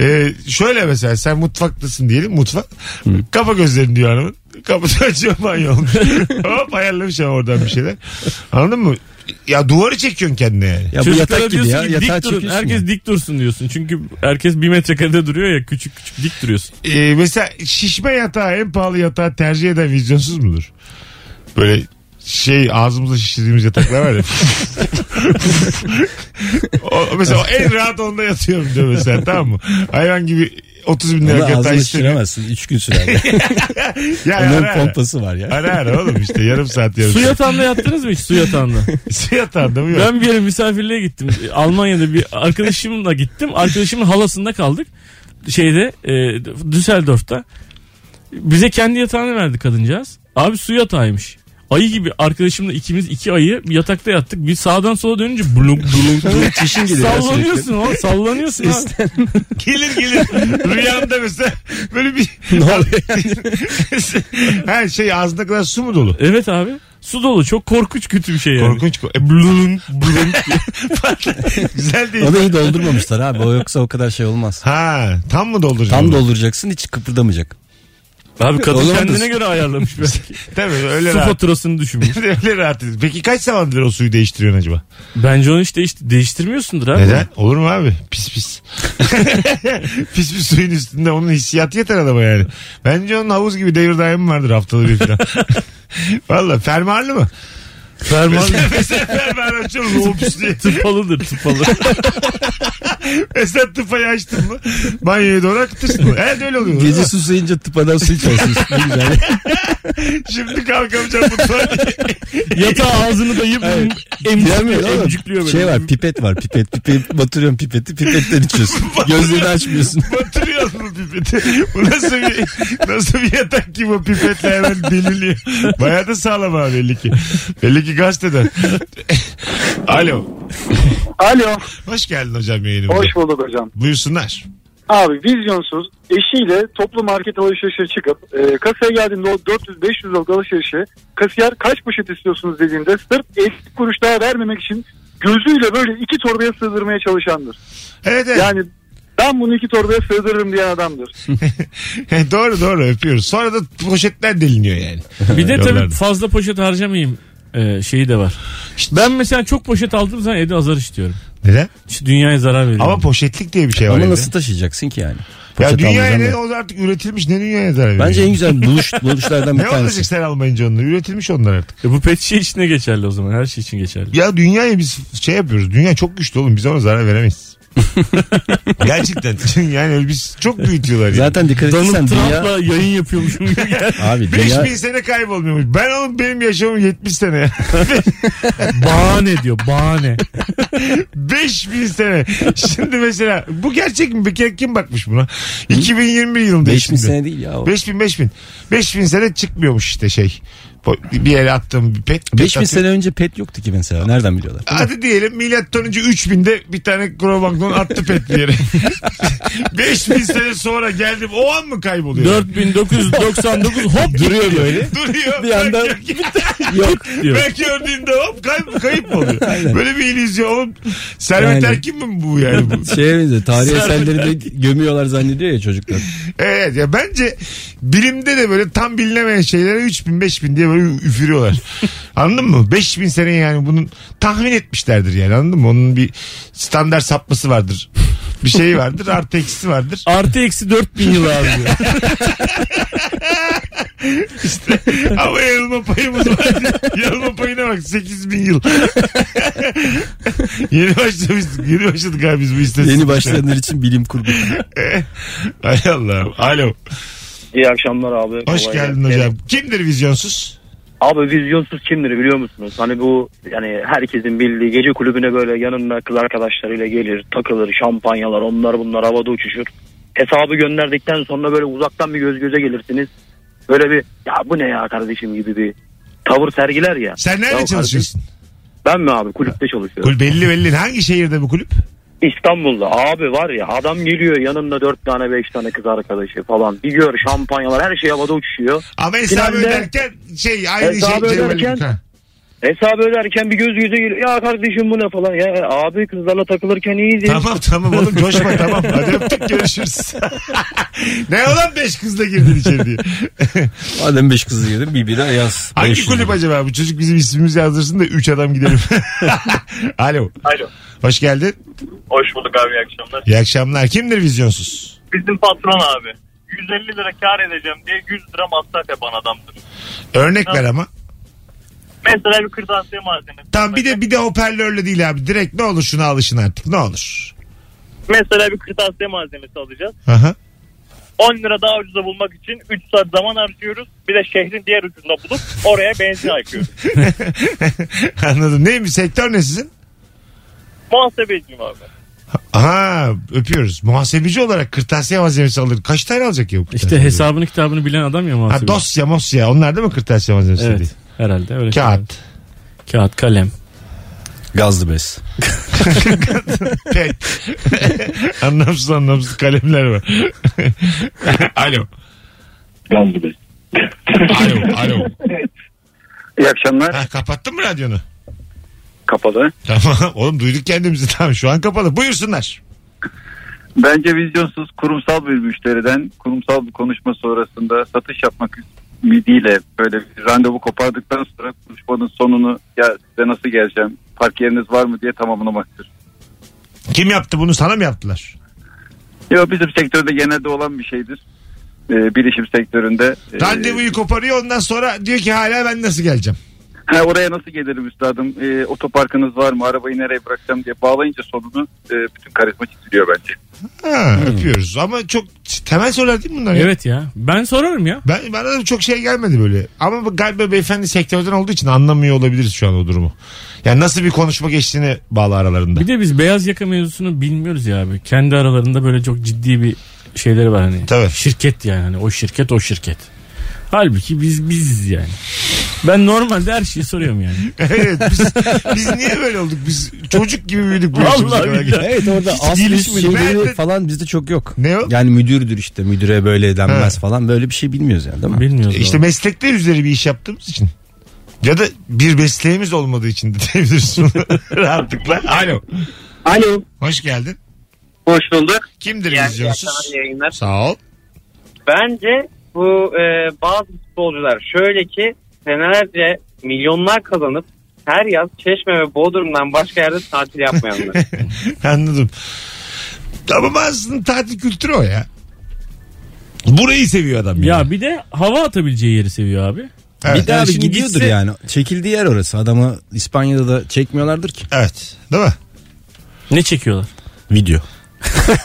Ee, şöyle mesela sen mutfaktasın diyelim mutfak. Kapa gözlerini diyor hanımın. Kapısı açıyor banyo olmuş. Hop ayarlamış ama oradan bir şeyler. Anladın mı? Ya duvarı çekiyorsun kendine yani.
Ya bu
Çocuklara
yatak gibi
diyorsun
ya.
ki
Yatağa
dik durun.
çekiyorsun
Herkes
ya.
dik dursun diyorsun. Çünkü herkes bir metrekarede duruyor ya küçük küçük dik duruyorsun.
Ee, mesela şişme yatağı en pahalı yatağı tercih eden vizyonsuz mudur? Böyle şey ağzımızla şişirdiğimiz yataklar var ya. o, mesela o en rahat onda yatıyorum diyor mesela tamam mı? Hayvan gibi 30 bin
Ama
lira yatağı
ağzını
istemiyor.
şişiremezsin. 3 gün sürer.
Ya
Onun
ara ara.
pompası var ya.
Ara ara oğlum işte yarım saat yarım
Su
saat.
yatağında yattınız mı hiç su yatağında?
Su yatağında mı yok?
Ben bir yere misafirliğe gittim. Almanya'da bir arkadaşımla gittim. Arkadaşımın halasında kaldık. Şeyde e, Düsseldorf'ta. Bize kendi yatağını verdi kadıncağız. Abi su yatağıymış. Ayı gibi arkadaşımla ikimiz iki ayı bir yatakta yattık. Bir sağdan sola dönünce blunk blunk blunk.
Çişin geliyor ya
sallanıyorsun oğlum sallanıyorsun. ha.
Gelir gelir rüyamda mesela böyle bir...
Ne oluyor?
Her şey ağzına kadar su mu dolu?
Evet abi. Su dolu çok korkunç kötü bir şey yani.
Korkunç. ko- E,
Blunk blunk.
güzel değil.
Onu iyi doldurmamışlar abi. O yoksa o kadar şey olmaz.
Ha tam mı dolduracaksın?
Tam dolduracaksın hiç kıpırdamayacak.
Abi kadın
Olamaz.
kendine göre ayarlamış belki.
Tabii öyle
Su
rahat.
faturasını düşünmüş.
öyle rahat. edin. Peki kaç zamandır o suyu değiştiriyorsun acaba?
Bence onu hiç değiş- değiştirmiyorsundur abi.
Neden? Olur mu abi? Pis pis. pis pis suyun üstünde onun hissiyatı yeter adama yani. Bence onun havuz gibi devir daimi vardır haftalı bir falan. Valla fermuarlı mı?
Fermuarlı.
Mesela, mesela fermuarı açıyorum. o pis diye.
Tıpalıdır tıpalı.
Mesela tıpayı açtın mı? Banyoya doğru akıtırsın mı? Herhalde öyle oluyor.
Gece
Değil mi?
susayınca tıpadan su içersin. Ne güzel.
Şimdi kalkamayacağım mutfağa.
Yatağa ağzını dayayıp
Giremiyor
emcikliyor.
oğlum.
emcikliyor böyle.
Şey var pipet var pipet. Pipet batırıyorsun pipeti pipetten içiyorsun. Gözlerini açmıyorsun.
Batırıyorsun bu pipeti. Bu nasıl bir, nasıl bir yatak ki bu pipetle hemen deliliyor. Bayağı da sağlam abi belli ki. Belli ki gazeteden. Alo.
Alo.
Hoş geldin hocam yayınımda.
Hoş bulduk hocam.
Buyursunlar.
Abi vizyonsuz eşiyle toplu market alışverişe çıkıp e, kasaya geldiğinde o 400-500 liralık alışverişe kasiyer kaç poşet istiyorsunuz dediğinde sırf 50 kuruş daha vermemek için gözüyle böyle iki torbaya sığdırmaya çalışandır.
Evet, evet.
Yani ben bunu iki torbaya sığdırırım diyen adamdır.
doğru doğru öpüyoruz. Sonra da poşetler deliniyor yani.
Bir de tabii
Yollarda.
fazla poşet harcamayayım e, şeyi de var. ben mesela çok poşet aldığım zaman evde azar işliyorum.
Neden?
İşte dünyaya zarar veriyorum.
Ama poşetlik diye bir şey var.
Ama
evde.
nasıl
taşıyacaksın ki yani?
Ya
Poşet
dünyaya
almayacağım
ne
ya.
o da artık üretilmiş ne dünyaya zarar veriyor.
Bence en güzel buluş, buluşlardan bir
ne olacak
tanesi.
sen almayınca onları üretilmiş onlar artık.
E bu pet şişe için de geçerli o zaman. Her şey için geçerli.
Ya dünyaya biz şey yapıyoruz. Dünya çok güçlü oğlum. Biz ona zarar veremeyiz. Gerçekten. Yani öyle biz çok büyütüyorlar. Yani.
Zaten dikkat etsen
Donald
dünya...
Trump'la yayın yapıyormuşum gibi geldi.
Abi dünya...
5000 sene kaybolmuyormuş. Ben oğlum benim yaşamım 70 sene. ya.
bahane diyor bahane.
5000 sene. Şimdi mesela bu gerçek mi? Bir kere kim bakmış buna? 2021 yılında.
5000
şimdi.
sene değil ya o.
5000 5000. 5000 sene çıkmıyormuş işte şey. Po- Bir yere attığım bir pet. pet
5000
atıyorum.
sene önce pet yoktu ki mesela. Nereden biliyorlar?
Hadi diyelim milattan önce 3000'de bir tane Krobank'tan attı pet bir yere. 5000 sene sonra geldim. O an mı kayboluyor?
4999 hop
Duruyor böyle.
Duruyor.
Bir yandan
Belki-
yok diyor.
Belki gördüğünde hop kayıp, kayıp mı oluyor? Böyle bir illüzyon oğlum. Servet
Yani.
Erkin mi bu yani bu?
Şeye benziyor. Tarih
Servet
eserlerini de gömüyorlar zannediyor ya çocuklar.
Evet ya bence bilimde de böyle tam bilinemeyen şeylere 3000 5000 diye böyle üfürüyorlar. anladın mı? 5000 sene yani bunun tahmin etmişlerdir yani anladın mı? Onun bir standart sapması vardır. Bir şeyi vardır artı eksisi vardır.
Artı eksi 4000 yıl abi diyor.
Ama yanılma payımız var. yanılma payına bak 8000 yıl. yeni başlamıştık. Yeni başladık abi biz bu istatistik.
Yeni başlayanlar için bilim kurgu.
Hay Allah'ım. Alo.
İyi akşamlar abi.
Hoş
Kolay
geldin
gelsin.
hocam. Kimdir vizyonsuz?
Abi vizyonsuz kimdir biliyor musunuz? Hani bu yani herkesin bildiği gece kulübüne böyle yanında kız arkadaşlarıyla gelir, takılır, şampanyalar onlar bunlar havada uçuşur. Hesabı gönderdikten sonra böyle uzaktan bir göz göze gelirsiniz. Böyle bir ya bu ne ya kardeşim gibi bir tavır sergiler ya.
Sen
Ya
nerede
kardeşim,
çalışıyorsun?
Ben mi abi kulüpte çalışıyorum.
Kul belli belli. Hangi şehirde bu kulüp?
İstanbul'da abi var ya adam geliyor yanında dört tane beş tane kız arkadaşı falan. Bir gör şampanyalar her şey havada uçuşuyor.
Ama hesabı
Finalde-
öderken şey aynı şey.
Hesabı
Cemil
öderken-
Ülkan.
Hesabı öderken bir göz göze geliyor. Ya kardeşim bu ne falan. Ya abi kızlarla takılırken iyiydi.
Tamam tamam oğlum coşma tamam. Hadi öptük görüşürüz. ne olan beş kızla girdin içeri diye.
Madem 5 kızı yedim bir bira yaz.
Hangi
500
kulüp
lira.
acaba? Bu çocuk bizim ismimizi yazdırsın da üç adam gidelim. Alo.
Alo.
Hoş geldin.
Hoş bulduk abi iyi akşamlar.
İyi akşamlar. Kimdir vizyonsuz?
Bizim patron abi. 150 lira kar edeceğim diye 100 lira masraf yapan adamdır.
Örnek ver ama.
Mesela bir kırtasiye malzemesi.
Tamam bir de bir de hoparlörle değil abi. Direkt ne olur şuna alışın artık. Ne olur.
Mesela bir kırtasiye malzemesi alacağız.
Aha.
10 lira daha ucuza bulmak için 3 saat zaman harcıyoruz. Bir de şehrin diğer ucunda bulup oraya benzin akıyoruz.
Anladım. Neymiş sektör ne sizin?
Muhasebeciyim abi.
Aha öpüyoruz. Muhasebeci olarak kırtasiye malzemesi alır. Kaç tane alacak ya bu
İşte hesabını kitabını bilen adam ya
Ha,
muhasebe.
dosya mosya onlar da mı kırtasiye malzemesi
Evet,
değil?
herhalde öyle
Kağıt.
Kağıt kalem.
Gazlı bez.
Pet. anlamsız anlamsız kalemler var. Alo.
Gazlı bez.
Alo. Alo.
İyi akşamlar.
Ha, kapattın mı radyonu?
Kapalı.
Tamam. Oğlum duyduk kendimizi. Tamam şu an kapalı. Buyursunlar.
Bence vizyonsuz kurumsal bir müşteriden kurumsal bir konuşma sonrasında satış yapmak ümidiyle böyle bir randevu kopardıktan sonra konuşmanın sonunu ya size nasıl geleceğim park yeriniz var mı diye tamamlamaktır.
Kim yaptı bunu sana mı yaptılar?
Yo bizim sektörde genelde olan bir şeydir. Ee, bilişim sektöründe.
Ee,
e,
Randevuyu koparıyor ondan sonra diyor ki hala ben nasıl geleceğim?
Ha, oraya nasıl gelirim üstadım? Ee, otoparkınız var mı? Arabayı nereye bırakacağım diye bağlayınca sonunu e, bütün karizma çiziliyor bence.
Ha, Öpüyoruz ama çok temel sorular değil mi bunlar?
Evet ya. Ben sorarım ya.
Ben, bana da çok şey gelmedi böyle. Ama bu galiba beyefendi sektörden olduğu için anlamıyor olabiliriz şu an o durumu. Yani nasıl bir konuşma geçtiğini bağlı aralarında.
Bir de biz beyaz yaka mevzusunu bilmiyoruz ya abi. Kendi aralarında böyle çok ciddi bir şeyleri var hani. Tabii. Şirket yani hani o şirket o şirket. Halbuki biz biziz yani. Ben normalde her şeyi soruyorum yani.
evet biz, biz niye böyle olduk? Biz çocuk gibi büyüdük bu yaşımıza kadar.
Evet orada
Hiç
asıl
gelişmedik. Ben de-
şeyleri falan bizde çok yok.
Ne o?
Yani müdürdür işte müdüre böyle denmez
He.
falan böyle bir şey bilmiyoruz yani değil mi?
Bilmiyoruz.
İşte meslekte üzeri bir iş yaptığımız için. Ya da bir mesleğimiz olmadığı için de diyebiliriz bunu rahatlıkla. Alo.
Alo.
Hoş geldin.
Hoş bulduk.
Kimdir
Yani
vizyonsuz?
iyi yayınlar.
Sağ ol.
Bence bu e, bazı futbolcular şöyle ki senelerce milyonlar kazanıp her yaz Çeşme ve Bodrum'dan başka yerde tatil yapmayanlar.
Anladım. Ama aslında tatil kültürü o ya. Burayı seviyor adam.
Ya bir de hava atabileceği yeri seviyor abi.
Bir daha bir gidiyordur yani. Çekildiği yer orası. Adamı İspanya'da da çekmiyorlardır ki.
Evet. Değil mi?
Ne çekiyorlar?
Video.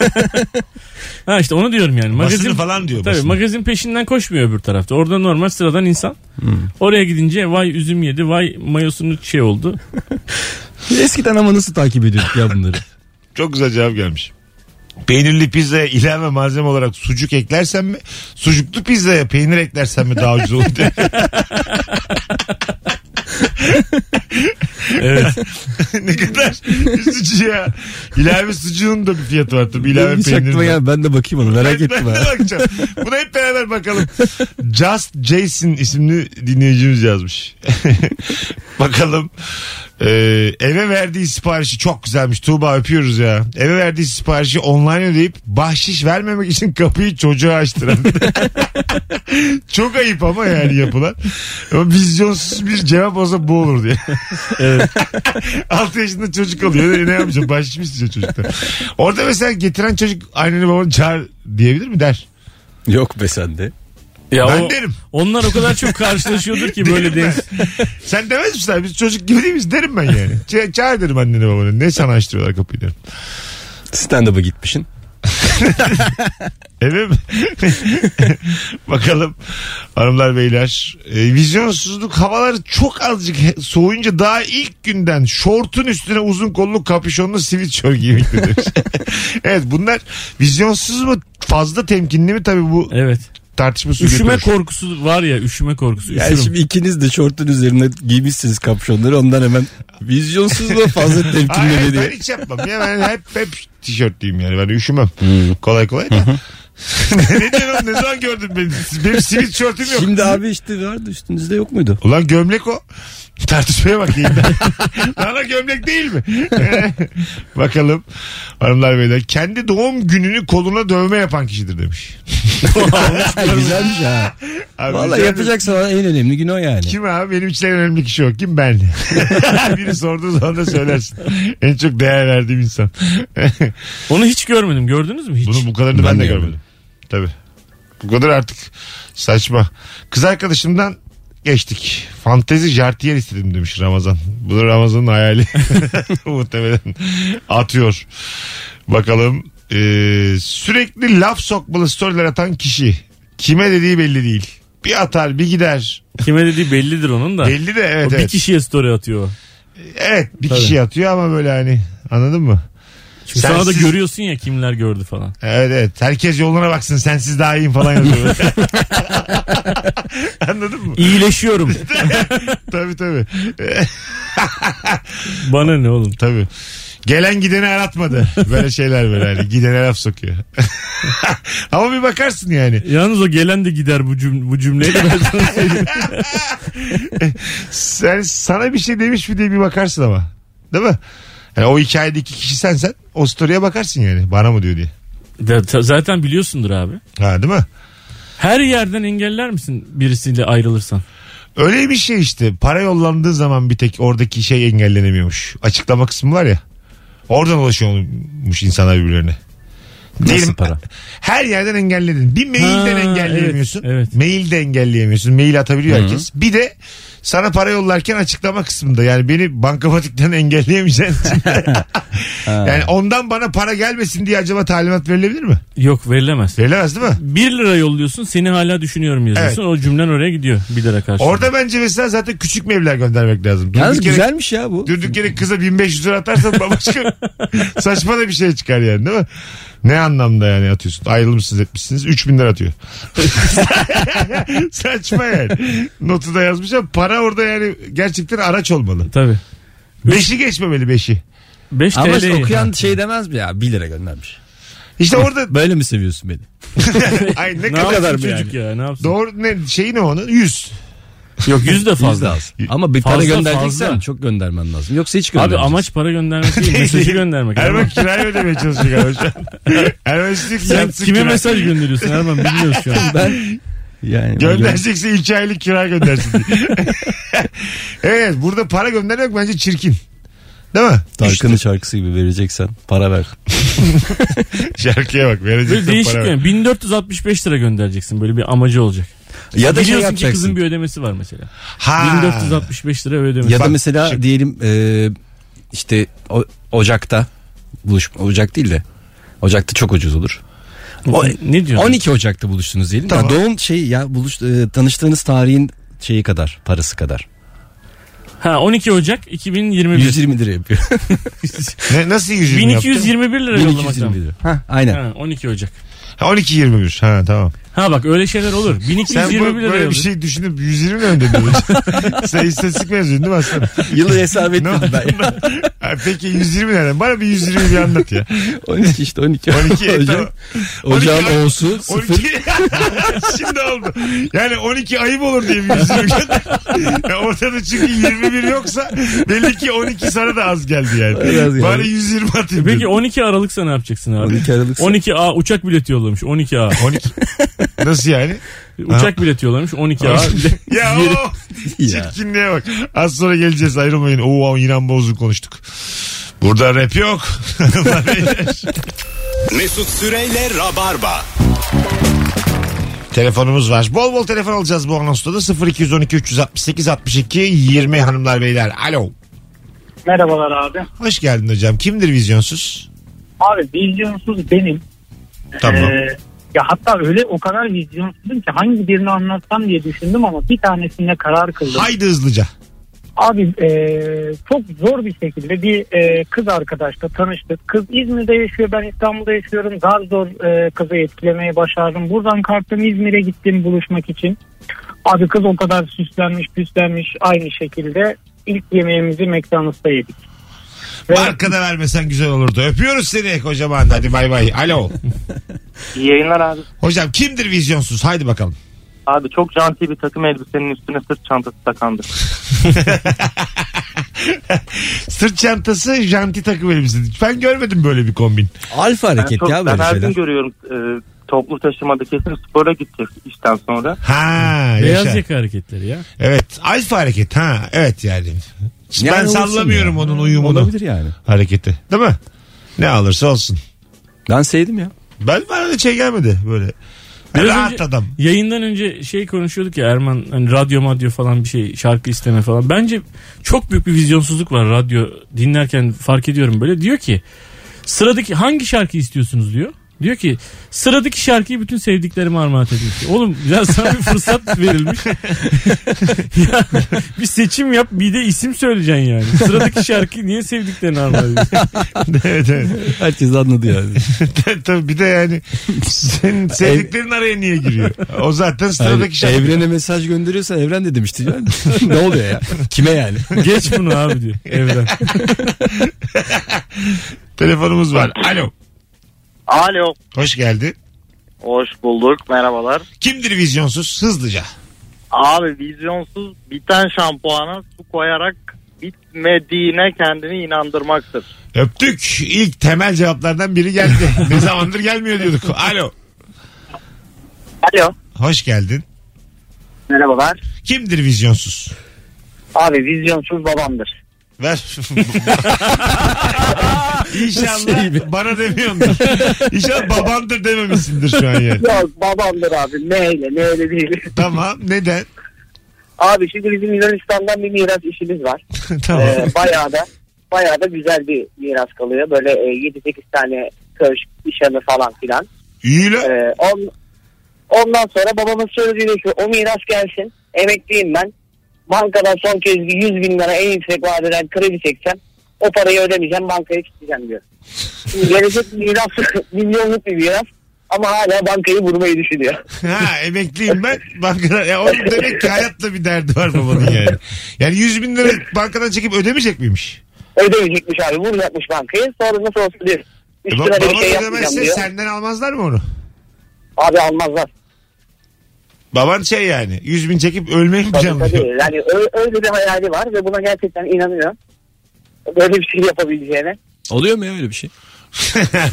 Ha işte onu diyorum yani. Magazin
Basını falan diyor,
Tabii
basını.
magazin peşinden koşmuyor öbür tarafta. Orada normal sıradan insan.
Hmm.
Oraya gidince vay üzüm yedi, vay mayosunu şey oldu.
Eskiden ama nasıl takip ediyorduk ya bunları?
Çok güzel cevap gelmiş. Peynirli pizzaya ilave malzeme olarak sucuk eklersen mi? Sucuklu pizzaya peynir eklersen mi daha ucuz olur diye.
evet.
ne kadar üzücü ya. İlave sucuğun da bir fiyatı var tabii. İlave
Hiç
peynirin
aklıma
de.
gel ben de bakayım onu merak
Ben
ettim
de
ha.
bakacağım. Buna hep beraber bakalım. Just Jason isimli dinleyicimiz yazmış. bakalım. Ee, eve verdiği siparişi çok güzelmiş. Tuğba öpüyoruz ya. Eve verdiği siparişi online ödeyip bahşiş vermemek için kapıyı çocuğa açtıran. çok ayıp ama yani yapılan. Ama vizyonsuz bir cevap olsa bu olur diye.
Evet.
6 yaşında çocuk oluyor. Ne yapacak? Bahşiş mi isteyecek çocuktan? Orada mesela getiren çocuk anneni babanı çağır diyebilir mi der?
Yok be sende.
Ya
ben
o-
derim.
Onlar o kadar çok karşılaşıyordur ki böyle
Derim ben.
deniz.
Sen demez misin abi? Biz çocuk gibi değil miyiz? Derim ben yani. Ç- çağır derim anneni babanı. Ne sana açtırıyorlar kapıyı derim.
Stand-up'a gitmişsin.
Evet. Bakalım hanımlar beyler. E, vizyonsuzluk havaları çok azıcık he- soğuyunca daha ilk günden şortun üstüne uzun kollu kapüşonlu sweatshirt giymekte demiş. evet bunlar vizyonsuz mu fazla temkinli mi tabii bu
evet.
tartışması
Üşüme
götürür.
korkusu var ya üşüme korkusu.
Yani
Üşürüm.
şimdi ikiniz de şortun üzerine giymişsiniz kapşonları ondan hemen vizyonsuzluğa fazla
Hayır,
temkinli
hayır,
diye.
ben hiç yapmam ya ben hep hep tişörtlüyüm yani ben üşümem kolay kolay da. ne diyorum ne zaman gördün beni benim sivil tişörtüm yok.
Şimdi abi işte vardı üstünüzde yok muydu?
Ulan gömlek o. Tartışmaya bak yayında. Lan o gömlek değil mi? Bakalım hanımlar beyler. Kendi doğum gününü koluna dövme yapan kişidir demiş.
Güzelmiş ha.
Abi
Valla
güzel
yapacaksa en önemli gün o yani.
Kim abi? Benim için en önemli kişi o. Kim ben? Biri sorduğu zaman da söylersin. En çok değer verdiğim insan.
Onu hiç görmedim gördünüz mü hiç?
Bunu bu kadarını ben, de görmedim. Tabii. Bu kadar artık saçma. Kız arkadaşımdan geçtik. Fantezi jartiyer istedim demiş Ramazan. Bu da Ramazan'ın hayali. Muhtemelen atıyor. Bakalım. Ee, sürekli laf sokmalı storyler atan kişi. Kime dediği belli değil. Bir atar bir gider.
Kime dediği bellidir onun da.
Belli de evet
O bir
evet.
kişiye story atıyor. o.
Evet bir
Tabii.
kişi atıyor ama böyle hani anladın mı?
Çünkü
Sensiz-
sonra da görüyorsun ya kimler gördü falan.
Evet evet. Herkes yoluna baksın sensiz daha iyiyim falan yazıyor. Anladın mı?
İyileşiyorum.
tabii tabii. E,
Bana ne oğlum?
Tabii. Gelen gideni aratmadı. Böyle şeyler böyle hani. Gidene laf sokuyor. Ama bir bakarsın yani.
Yalnız o gelen de gider bu, cüm bu cümleyi de ben sana söyleyeyim.
Sen, sana bir şey demiş mi diye bir bakarsın ama. Değil mi? Yani o hikayedeki kişi sensen o story'e bakarsın yani. Bana mı diyor diye.
De- ta- zaten biliyorsundur abi.
Ha değil mi?
Her yerden engeller misin birisiyle ayrılırsan?
Öyle bir şey işte. Para yollandığı zaman bir tek oradaki şey engellenemiyormuş. Açıklama kısmı var ya. Oradan ulaşıyormuş insanlar birbirlerine. Diyelim, para? Her yerden engelledin. Bir mailden
Ha,
engelleyemiyorsun. Mail de engelleyemiyorsun. Mail atabiliyor
Hı.
herkes. Bir de sana para yollarken açıklama kısmında yani beni bankamatikten engelleyemeyeceksin. yani ondan bana para gelmesin diye acaba talimat verilebilir mi?
Yok verilemez.
Verilemez değil mi?
1 lira yolluyorsun seni hala düşünüyorum yazıyorsun. O cümlen oraya gidiyor 1 lira karşılığında.
Orada bence mesela zaten küçük mevler göndermek lazım. Durduk
Yalnız
yere-
güzelmiş ya bu.
Durduk yere kıza 1500 lira atarsan bambaşka saçma da bir şey çıkar yani değil mi? Ne anlamda yani atıyorsun? Ayrılmışsınız etmişsiniz 3000 lira atıyor. saçma yani. Notu da yazmış ama para orada yani gerçekten araç olmalı.
Tabii.
Beşi geçmemeli beşi.
5
Ama işte okuyan şey demez mi ya 1 lira göndermiş.
İşte orada-
Böyle mi seviyorsun beni?
Ay ne,
Ne
kadar,
kadar
mı
bu
yani?
çocuk
ya ne yapsın?
Doğru ne şeyi ne onun? 100.
Yok yüz de fazla.
Yüz de az. Ama bir para
Fazla,
göndereceksen
fazla.
çok göndermen lazım. Yoksa hiç
Abi
göndermeyeceksin.
amaç para göndermek değil mesajı göndermek.
Erman kirayı ödemeye çalışıyor galiba şu an. Erman sizin
Sen
yatsın
kime
kira.
mesaj gönderiyorsun Erman bilmiyoruz şu an.
Ben yani
Gönderecekse iki aylık kira göndersin diye. evet burada para göndermek bence çirkin. Değil mi?
Tarkan'ın şarkısı gibi vereceksen para ver.
Şarkıya bak
Böyle
vereceksen
değişik
para. ver.
yani. 1465 lira göndereceksin böyle bir amacı olacak.
Ya da şey
Biliyorsun ki
yapacaksın.
kızın bir ödemesi var mesela.
Ha.
1465 lira ödemesi.
Ya da
Bak,
mesela diyelim e, işte o- Ocak'ta buluşma Ocak değil de Ocak'ta çok ucuz olur. O,
ne diyorsun?
12 Ocak'ta buluştunuz diyelim.
Tamam.
Ya doğum şeyi ya buluş e, tanıştığınız tarihin şeyi kadar, parası kadar.
Ha 12 Ocak 2021.
120 lira yapıyor.
Ne, nasıl 120 yaptı?
1221 lira yollamak
1221
lazım.
lira. Ha, aynen.
Ha, 12 Ocak.
Ha, 12.21 ha tamam.
Ha bak öyle şeyler olur.
Sen
1221
bu,
lira
böyle bir
yolladı.
şey düşünüp 120 mi ödedin? Sen istatistik mezunun değil mi aslında?
Yılı hesap etmedim ben.
Ha, Peki 120 nereden? Bana bir 120 bir anlat ya.
12 işte 12.
12
Ocak.
tamam.
Ocağın
12
O'su
12
sıfır.
Şimdi oldu. Yani 12 ayıp olur diye bir yüzünü gönder. Ya ortada çünkü 21 yoksa belli ki 12 sana da az geldi yani.
Bana az geldi. E
Bari 120 atayım.
Peki 12 Aralık'sa ne yapacaksın abi?
12 Aralık'sa-
12A uçak bileti yollamış 12A.
12. Nasıl yani?
Uçak bileti yollamış 12A.
ya o çirkinliğe bak. Az sonra geleceğiz ayrılmayın. Oo ama İnan Boz'u konuştuk. Burada rap yok.
Mesut Süreyle Rabarba.
Telefonumuz var. Bol bol telefon alacağız bu anonsta da 0212 368 62 20 hanımlar beyler. Alo.
Merhabalar abi.
Hoş geldin hocam. Kimdir vizyonsuz?
Abi vizyonsuz benim.
Tamam.
Ee, ya hatta öyle o kadar vizyonsuzum ki hangi birini anlatsam diye düşündüm ama bir tanesine karar kıldım.
Haydi hızlıca.
Abi e, çok zor bir şekilde bir e, kız arkadaşla tanıştık. Kız İzmir'de yaşıyor ben İstanbul'da yaşıyorum. Zar zor e, kızı etkilemeye başardım. Buradan kalktım İzmir'e gittim buluşmak için. Abi kız o kadar süslenmiş püslenmiş aynı şekilde ilk yemeğimizi McDonald's'ta yedik.
Markada vermesen güzel olurdu. Öpüyoruz seni kocaman. Hadi bay bay. Alo.
İyi yayınlar abi.
Hocam kimdir vizyonsuz? Haydi bakalım.
Abi çok janti bir takım elbisenin üstüne sırt çantası takandır.
Sırt çantası janti takım elbise. Ben görmedim böyle bir kombin.
Alfa
Ben çok- Ben her gün görüyorum e, toplu taşımada kesin spora gidecek işten sonra.
Ha,
Beyaz
yaşa.
yaka hareketleri ya.
Evet. Alfa hareket. Ha, evet yani.
Yani
ben
olsun
sallamıyorum
ya.
onun uyumunu.
Olabilir
yani.
Hareketi. Değil mi? Ne alırsa olsun.
Ben sevdim ya.
Ben bana da şey gelmedi böyle.
Biraz
rahat
önce-
adam.
Yayından önce şey konuşuyorduk ya Erman hani radyo madyo falan bir şey şarkı isteme falan. Bence çok büyük bir vizyonsuzluk var radyo dinlerken fark ediyorum böyle. Diyor ki sıradaki hangi şarkı istiyorsunuz diyor. Diyor ki sıradaki şarkıyı bütün sevdiklerime armağan edeyim. diyor. Oğlum biraz sana bir fırsat verilmiş. Ya, bir seçim yap bir de isim söyleyeceksin yani. Sıradaki şarkıyı niye sevdiklerine armağan ediyorsun?
evet evet.
Herkes anladı yani.
Tabii bir de yani senin sevdiklerin araya niye giriyor? O zaten
Yani
sıradaki şarkı.
Evrene mesaj gönderiyorsan evren de demişti. ya. ne oluyor ya? Kime yani?
Geç bunu abi diyor evren.
Telefonumuz var. Alo.
Alo.
Hoş geldin.
Hoş bulduk. Merhabalar.
Kimdir vizyonsuz? Hızlıca.
Abi vizyonsuz biten şampuana su koyarak bitmeyen
etmediğine kendini inandırmaktır.
Öptük. İlk temel cevaplardan biri geldi. ne zamandır gelmiyor diyorduk. Alo.
Alo.
Hoş geldin.
Merhabalar.
Kimdir vizyonsuz?
Abi vizyonsuz babamdır.
Ver. İnşallah
Şey
bana demiyordur. İnşallah babandır dememişsindir şu an yani.
Yok babamdır abi. Neyle neyle değil.
Tamam neden?
Abi şimdi bizim Yunanistan'dan bir miras işimiz var.
Tamam.
Ee, bayağı da bayağı da güzel bir miras kalıyor. Böyle e, 7-8 tane köşk, nişanı falan filan.
İyi lan.
Ee, on, ondan sonra babamın sözüyle şu o miras gelsin. Emekliyim ben. Bankadan son kez bir 100 bin lira en yüksek vadeden kredi çeksem o parayı ödemeyeceğim bankaya çıkacağım diyor. Şimdi gelecek miras milyonluk bir miras ama hala bankayı vurmayı düşünüyor.
Ha emekliyim ben. Bankada, ya onun demek ki hayatla bir derdi var babanın yani. Yani 100 bin lira bankadan çekip ödemeyecek miymiş?
Ödemeyecekmiş abi vuracakmış bankayı sonra nasıl olsa diyor.
E,
Üstüne de
ba-
bir
baban
şey yapmayacağım
ödemezse
diyor.
senden almazlar mı onu?
Abi almazlar.
Baban şey yani 100 bin çekip ölmeyi mi planlıyor?
Tabii, yani ö- öyle bir hayali var ve buna gerçekten inanıyor. Böyle bir şey yapabileceğine.
Oluyor mu ya öyle bir şey?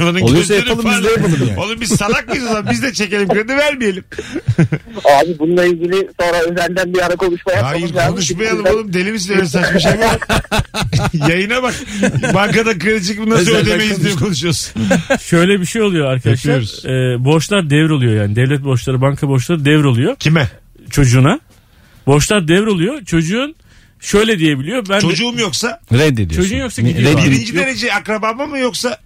Onun
Oluyorsa
gözleri
yapalım, biz de
parladı.
yapalım yani.
Oğlum biz salak mıyız o zaman? Biz de çekelim kredi vermeyelim.
Abi bununla ilgili sonra özelden bir ara konuşma yapmamız
Hayır
lazım.
konuşmayalım oğlum deli misin öyle saçma şey mi? var? Yayına bak. Bankada kredi çekip nasıl
Özelden
ödemeyiz diye
konuştuk.
konuşuyoruz.
Şöyle bir şey oluyor
Yapıyoruz.
arkadaşlar. Ee, borçlar devroluyor yani. Devlet borçları, banka borçları devroluyor.
Kime?
Çocuğuna. Borçlar devroluyor. Çocuğun şöyle diyebiliyor. Ben
Çocuğum yoksa?
Reddediyorsun.
Çocuğun yoksa gidiyor. abi.
Birinci derece akrabama mı yoksa?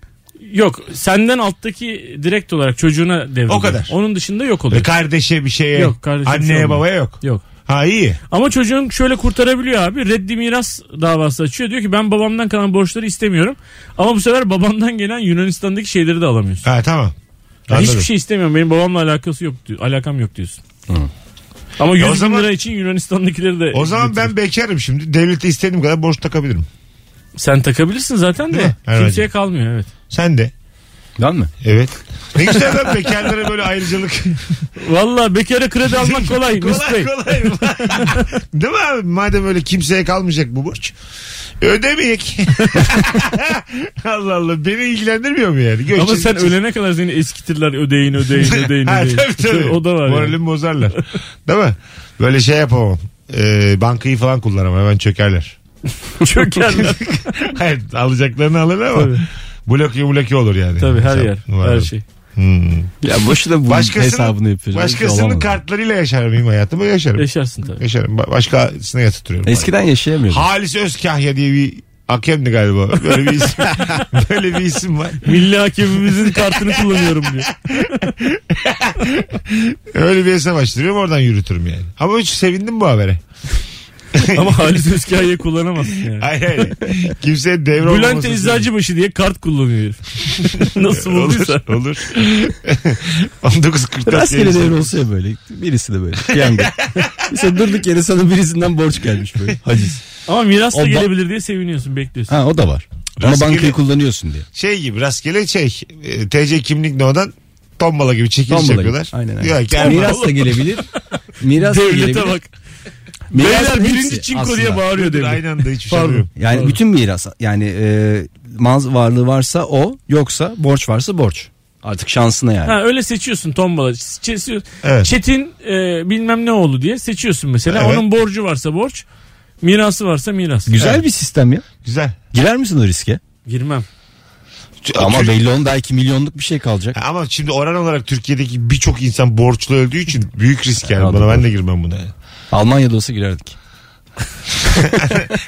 Yok senden alttaki direkt olarak çocuğuna devrediyor.
O kadar.
Onun dışında yok
E,
oluyor.
kardeşe bir şeye,
Yok, kardeşe bir şey
anneye
olmuyor.
babaya yok.
Yok.
Ha iyi.
Ama çocuğun şöyle kurtarabiliyor abi. Reddi miras davası açıyor. Diyor ki ben babamdan kalan borçları istemiyorum. Ama bu sefer babamdan gelen Yunanistan'daki şeyleri de alamıyorsun.
Ha tamam.
Yani
Anladım.
hiçbir şey istemiyorum. Benim babamla alakası yok diyor. Alakam yok diyorsun. Ama
E, o
100 bin
zaman-
lira için Yunanistan'dakileri de
O zaman ben bekarım şimdi. Devlete istediğim kadar borç takabilirim.
sen takabilirsin zaten
Değil mi?
de.
Herhalde.
Kimseye kalmıyor evet.
Sen de.
Lan mı?
Evet. Ne güzel lan bekarlara böyle ayrıcalık.
Valla bekara kredi almak kolay. Mesut Bey.
kolay kolay. Değil mi abi? Madem öyle kimseye kalmayacak bu borç. Ödemeyek. Allah Allah. Beni ilgilendirmiyor mu yani?
Ama
Göreceğiz,
sen
göreceğiz.
ölene kadar seni eskitirler ödeyin ödeyin ödeyin.
Ha,
ödeyin.
tabii, tabii.
O da var
Moralimi
yani.
bozarlar. Değil mi? Böyle şey yapamam. Ee, bankayı falan kullanamam. Hemen çökerler.
Çökerler.
Hayır alacaklarını alırlar ama.
Tabii.
Bloke bloke olur yani.
Tabii her
Sen-
yer
Var.
her şey.
Hmm.
Ya boşuna bu hesabını yapıyoruz.
Başkasının
Olamaz.
kartlarıyla yaşar mıyım hayatımı? Yaşarım.
Yaşarsın tabii.
Yaşarım. Ba- Başkasına yatırıyorum.
Eskiden yaşayamıyordum.
Halis Özkahya diye bir hakemdi galiba. Böyle bir isim, böyle bir isim var.
Milli hakemimizin kartını kullanıyorum diyor.
Öyle bir hesap açtırıyorum oradan yürütürüm yani. Ama hiç sevindim bu habere.
Ama Halis Özkaya'yı kullanamazsın yani.
Hayır hayır. Kimseye devre
Bülent
olmaması-
Eczacıbaşı diye kart kullanıyor. herif. Nasıl bulduysa.
Olur. olur. 1944
Rastgele
yayıncı.
devre olsa ya böyle. Birisi de böyle. Piyango. Mesela durduk yere sana birisinden borç gelmiş böyle. Haciz.
Ama miras da
O ba-
gelebilir diye seviniyorsun bekliyorsun.
Ha o da var. Ama
Rastgele-
bankayı kullanıyorsun diye.
Şey gibi rastgele şey. e, TC kimlik no'dan tombala gibi çekiliş
Tombala gibi.
yapıyorlar.
Aynen, aynen.
Diyorlar ki,
Miras da gelebilir. Miras da
Devlete
gelebilir.
bak.
Mirasın
Beyler birinci
hepsi
çinko
aslında.
diye bağırıyor
Dur,
devlet.
Aynı anda hiçbir şey
Pardon.
yok.
Yani
Doğru.
bütün miras yani e, maz varlığı varsa o yoksa borç varsa borç. Artık şansına yani.
Ha, öyle seçiyorsun tombala. Seçiyorsun.
Evet.
Çetin e, bilmem ne oldu diye seçiyorsun mesela.
Evet.
Onun borcu varsa borç. Mirası varsa miras.
Güzel
Evet.
bir sistem ya.
Güzel.
Girer misin o riske?
Girmem.
Ama
Çünkü-
belli onun daha 2 milyonluk bir şey kalacak.
Ha, Ama şimdi oran olarak Türkiye'deki birçok insan borçlu öldüğü için büyük risk yani. Bana ben de girmem buna. yani.
Almanya'da olsa girerdik.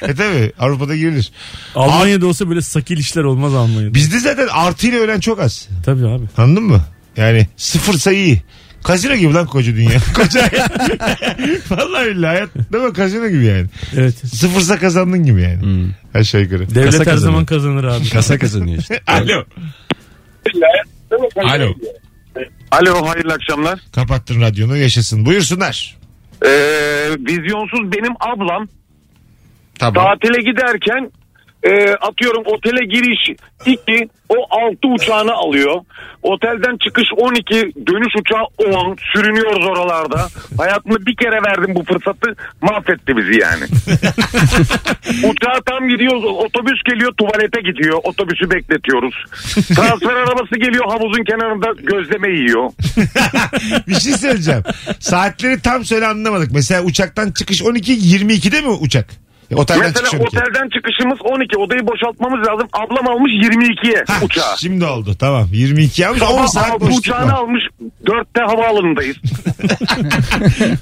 E tabi Avrupa'da girilir.
Almanya'da olsa böyle sakil işler olmaz Almanya'da.
Bizde zaten artıyla ölen çok az.
Tabii abi.
Anladın mı? Yani sıfır sayı iyi. Kazino gibi lan koca dünya. Koca hayat. Vallahi billahi hayat değil mi? Kazino gibi yani.
Evet.
Sıfırsa kazandın gibi yani. Aşağı yukarı.
Hmm. Devlet her
kazanıyor.
zaman kazanır abi.
Kasa kazanıyor işte.
Alo. Alo.
Alo hayırlı akşamlar.
Kapattın radyonu yaşasın. Buyursunlar.
Ee, vizyonsuz benim ablam
Tamam.
tatile giderken
e, atıyorum otele giriş 2 o 6 uçağını alıyor. Otelden çıkış 12 dönüş uçağı 10 sürünüyoruz oralarda. Hayatımda bir kere verdim bu fırsatı mahvetti bizi yani. Uçağa tam gidiyoruz otobüs geliyor tuvalete gidiyor otobüsü bekletiyoruz. Transfer arabası geliyor havuzun kenarında gözleme yiyor.
bir şey söyleyeceğim. Saatleri tam söyle anlamadık. Mesela uçaktan çıkış 12 22'de mi uçak? Ya, Otelden
Mesela
çıkış 12.
otelden çıkışımız 12 odayı boşaltmamız lazım ablam almış 22'ye
Hah,
uçağı.
Şimdi oldu tamam. 22 almış 10
Sabah
saat
aldı,
boşluk
uçağını
var.
almış 4'te havaalanındayız.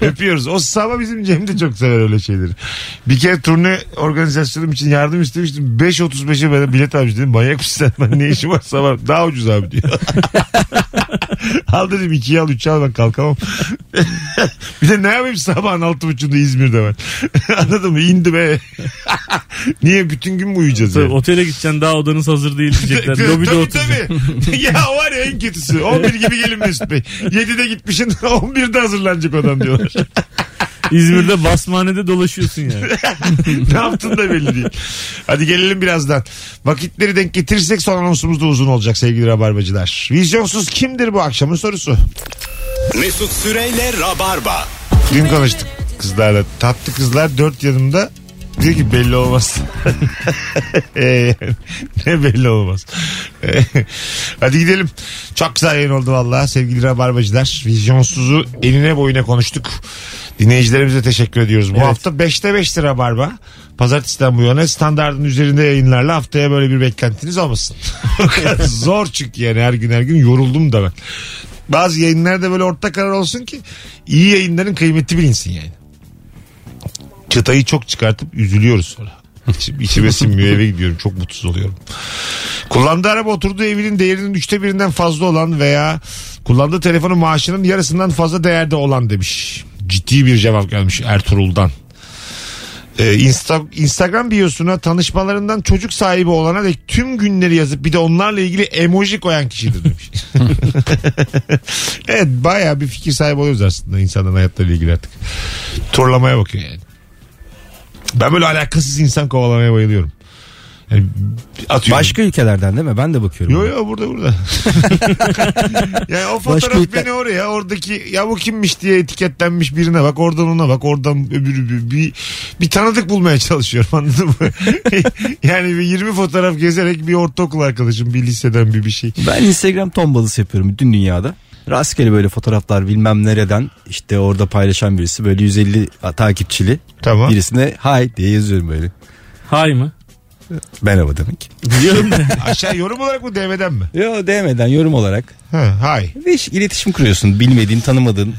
Öpüyoruz. O sabah bizim Cem de çok sever öyle şeyleri. Bir kere turne organizasyonum için yardım istemiştim. 5.35'e ben bilet almış dedim. Manyak mısın sen? Ben ne işim var sabah? Daha ucuz abi diyor. al dedim 2'ye al 3'e al ben kalkamam. bir de ne yapayım sabahın 6.30'da İzmir'de ben. Anladın mı? İndi be. Niye bütün gün mü uyuyacağız?
Tabii,
yani?
otele gideceksin daha odanız hazır değil diyecekler.
Tabii,
Lobide
tabii,
oturacaksın.
tabii. ya var ya en kötüsü. 11 gibi gelin Mesut Bey. 7'de gitmişsin 11'de hazırlanacak odam diyorlar.
İzmir'de basmanede dolaşıyorsun yani.
ne yaptın da belli değil. Hadi gelelim birazdan. Vakitleri denk getirirsek son anonsumuz da uzun olacak sevgili rabarbacılar. Vizyonsuz kimdir bu akşamın sorusu?
Mesut Süreyle Rabarba.
Dün konuştuk kızlarla. Tatlı kızlar dört yanımda diyor ki belli olmaz. Ee, ne belli olmaz. Ee, Hadi gidelim. Çok güzel yayın oldu valla sevgili rabarbacılar. Vizyonsuzu eline boyuna konuştuk. Dinleyicilerimize teşekkür ediyoruz. Bu hafta 5'te 5'ti rabarba. Pazartesiden bu yana standartın üzerinde yayınlarla haftaya böyle bir beklentiniz olmasın. O kadar Zor çünkü yani her gün her gün yoruldum da ben. Bazı yayınlarda böyle orta karar olsun ki iyi yayınların kıymeti bilinsin yani. Çıtayı çok çıkartıp üzülüyoruz sonra. İçim, içime sinmiyor eve gidiyorum çok mutsuz oluyorum. Kullandığı araba oturduğu evinin değerinin üçte birinden fazla olan veya kullandığı telefonun maaşının yarısından fazla değerde olan demiş. Ciddi bir cevap gelmiş Ertuğrul'dan. Ee, Insta, Instagram biosuna tanışmalarından çocuk sahibi olana dek tüm günleri yazıp bir de onlarla ilgili emoji koyan kişidir demiş. evet bayağı bir fikir sahibi oluyoruz aslında insanların hayatlarıyla ilgili artık. Turlamaya bakıyor yani. Ben böyle alakasız insan kovalamaya bayılıyorum. Yani atıyorum.
Başka ülkelerden değil mi? Ben de bakıyorum.
Yo yo burada burada. yani o
Başka
fotoğraf
ülke-
beni oraya oradaki ya bu kimmiş diye etiketlenmiş birine bak oradan ona bak oradan öbürü bir, bir, bir tanıdık bulmaya çalışıyorum anladın mı? yani bir 20 fotoğraf gezerek bir ortaokul arkadaşım bir liseden bir bir şey.
Ben Instagram tombalısı yapıyorum bütün dünyada. Rastgele böyle fotoğraflar bilmem nereden işte orada paylaşan birisi böyle 150 takipçili
tamam.
birisine hi diye yazıyorum böyle.
Hay mı?
Merhaba demek.
Diyorum da.
Aşağı yorum olarak mı DM'den mi?
Yo DM'den yorum olarak.
Ha, hi.
Ve iş- iletişim kuruyorsun bilmediğin tanımadığın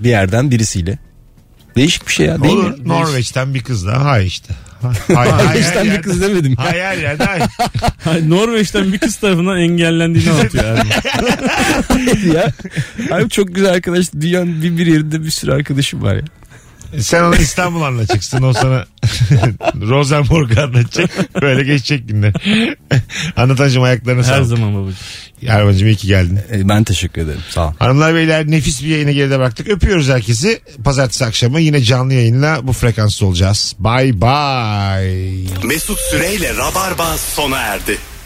bir yerden birisiyle. Değişik bir şey ya değil
Olur
mi?
Norveç'ten bir kız da hay işte.
Norveç'ten bir kız demedim ya.
Hayır yani hay.
Hayır, Norveç'ten bir kız tarafından engellendiğini anlatıyor abi.
ya. Abi çok güzel arkadaş dünyanın bir, bir yerinde bir sürü arkadaşım var ya.
Sen onu İstanbul anlatacaksın. O sana Rosenborg anlatacak. Böyle geçecek günler. Anlatancım ayaklarına sağlık.
Her zaman babacığım.
Yarmancım iyi ki geldin.
E, Ben teşekkür ederim sağ ol.
Hanımlar beyler nefis bir yayını geride bıraktık. Öpüyoruz herkesi. Pazartesi akşamı yine canlı yayınla bu frekansta olacağız. Bye bye.
Mesut Süreyle Rabarba sona erdi.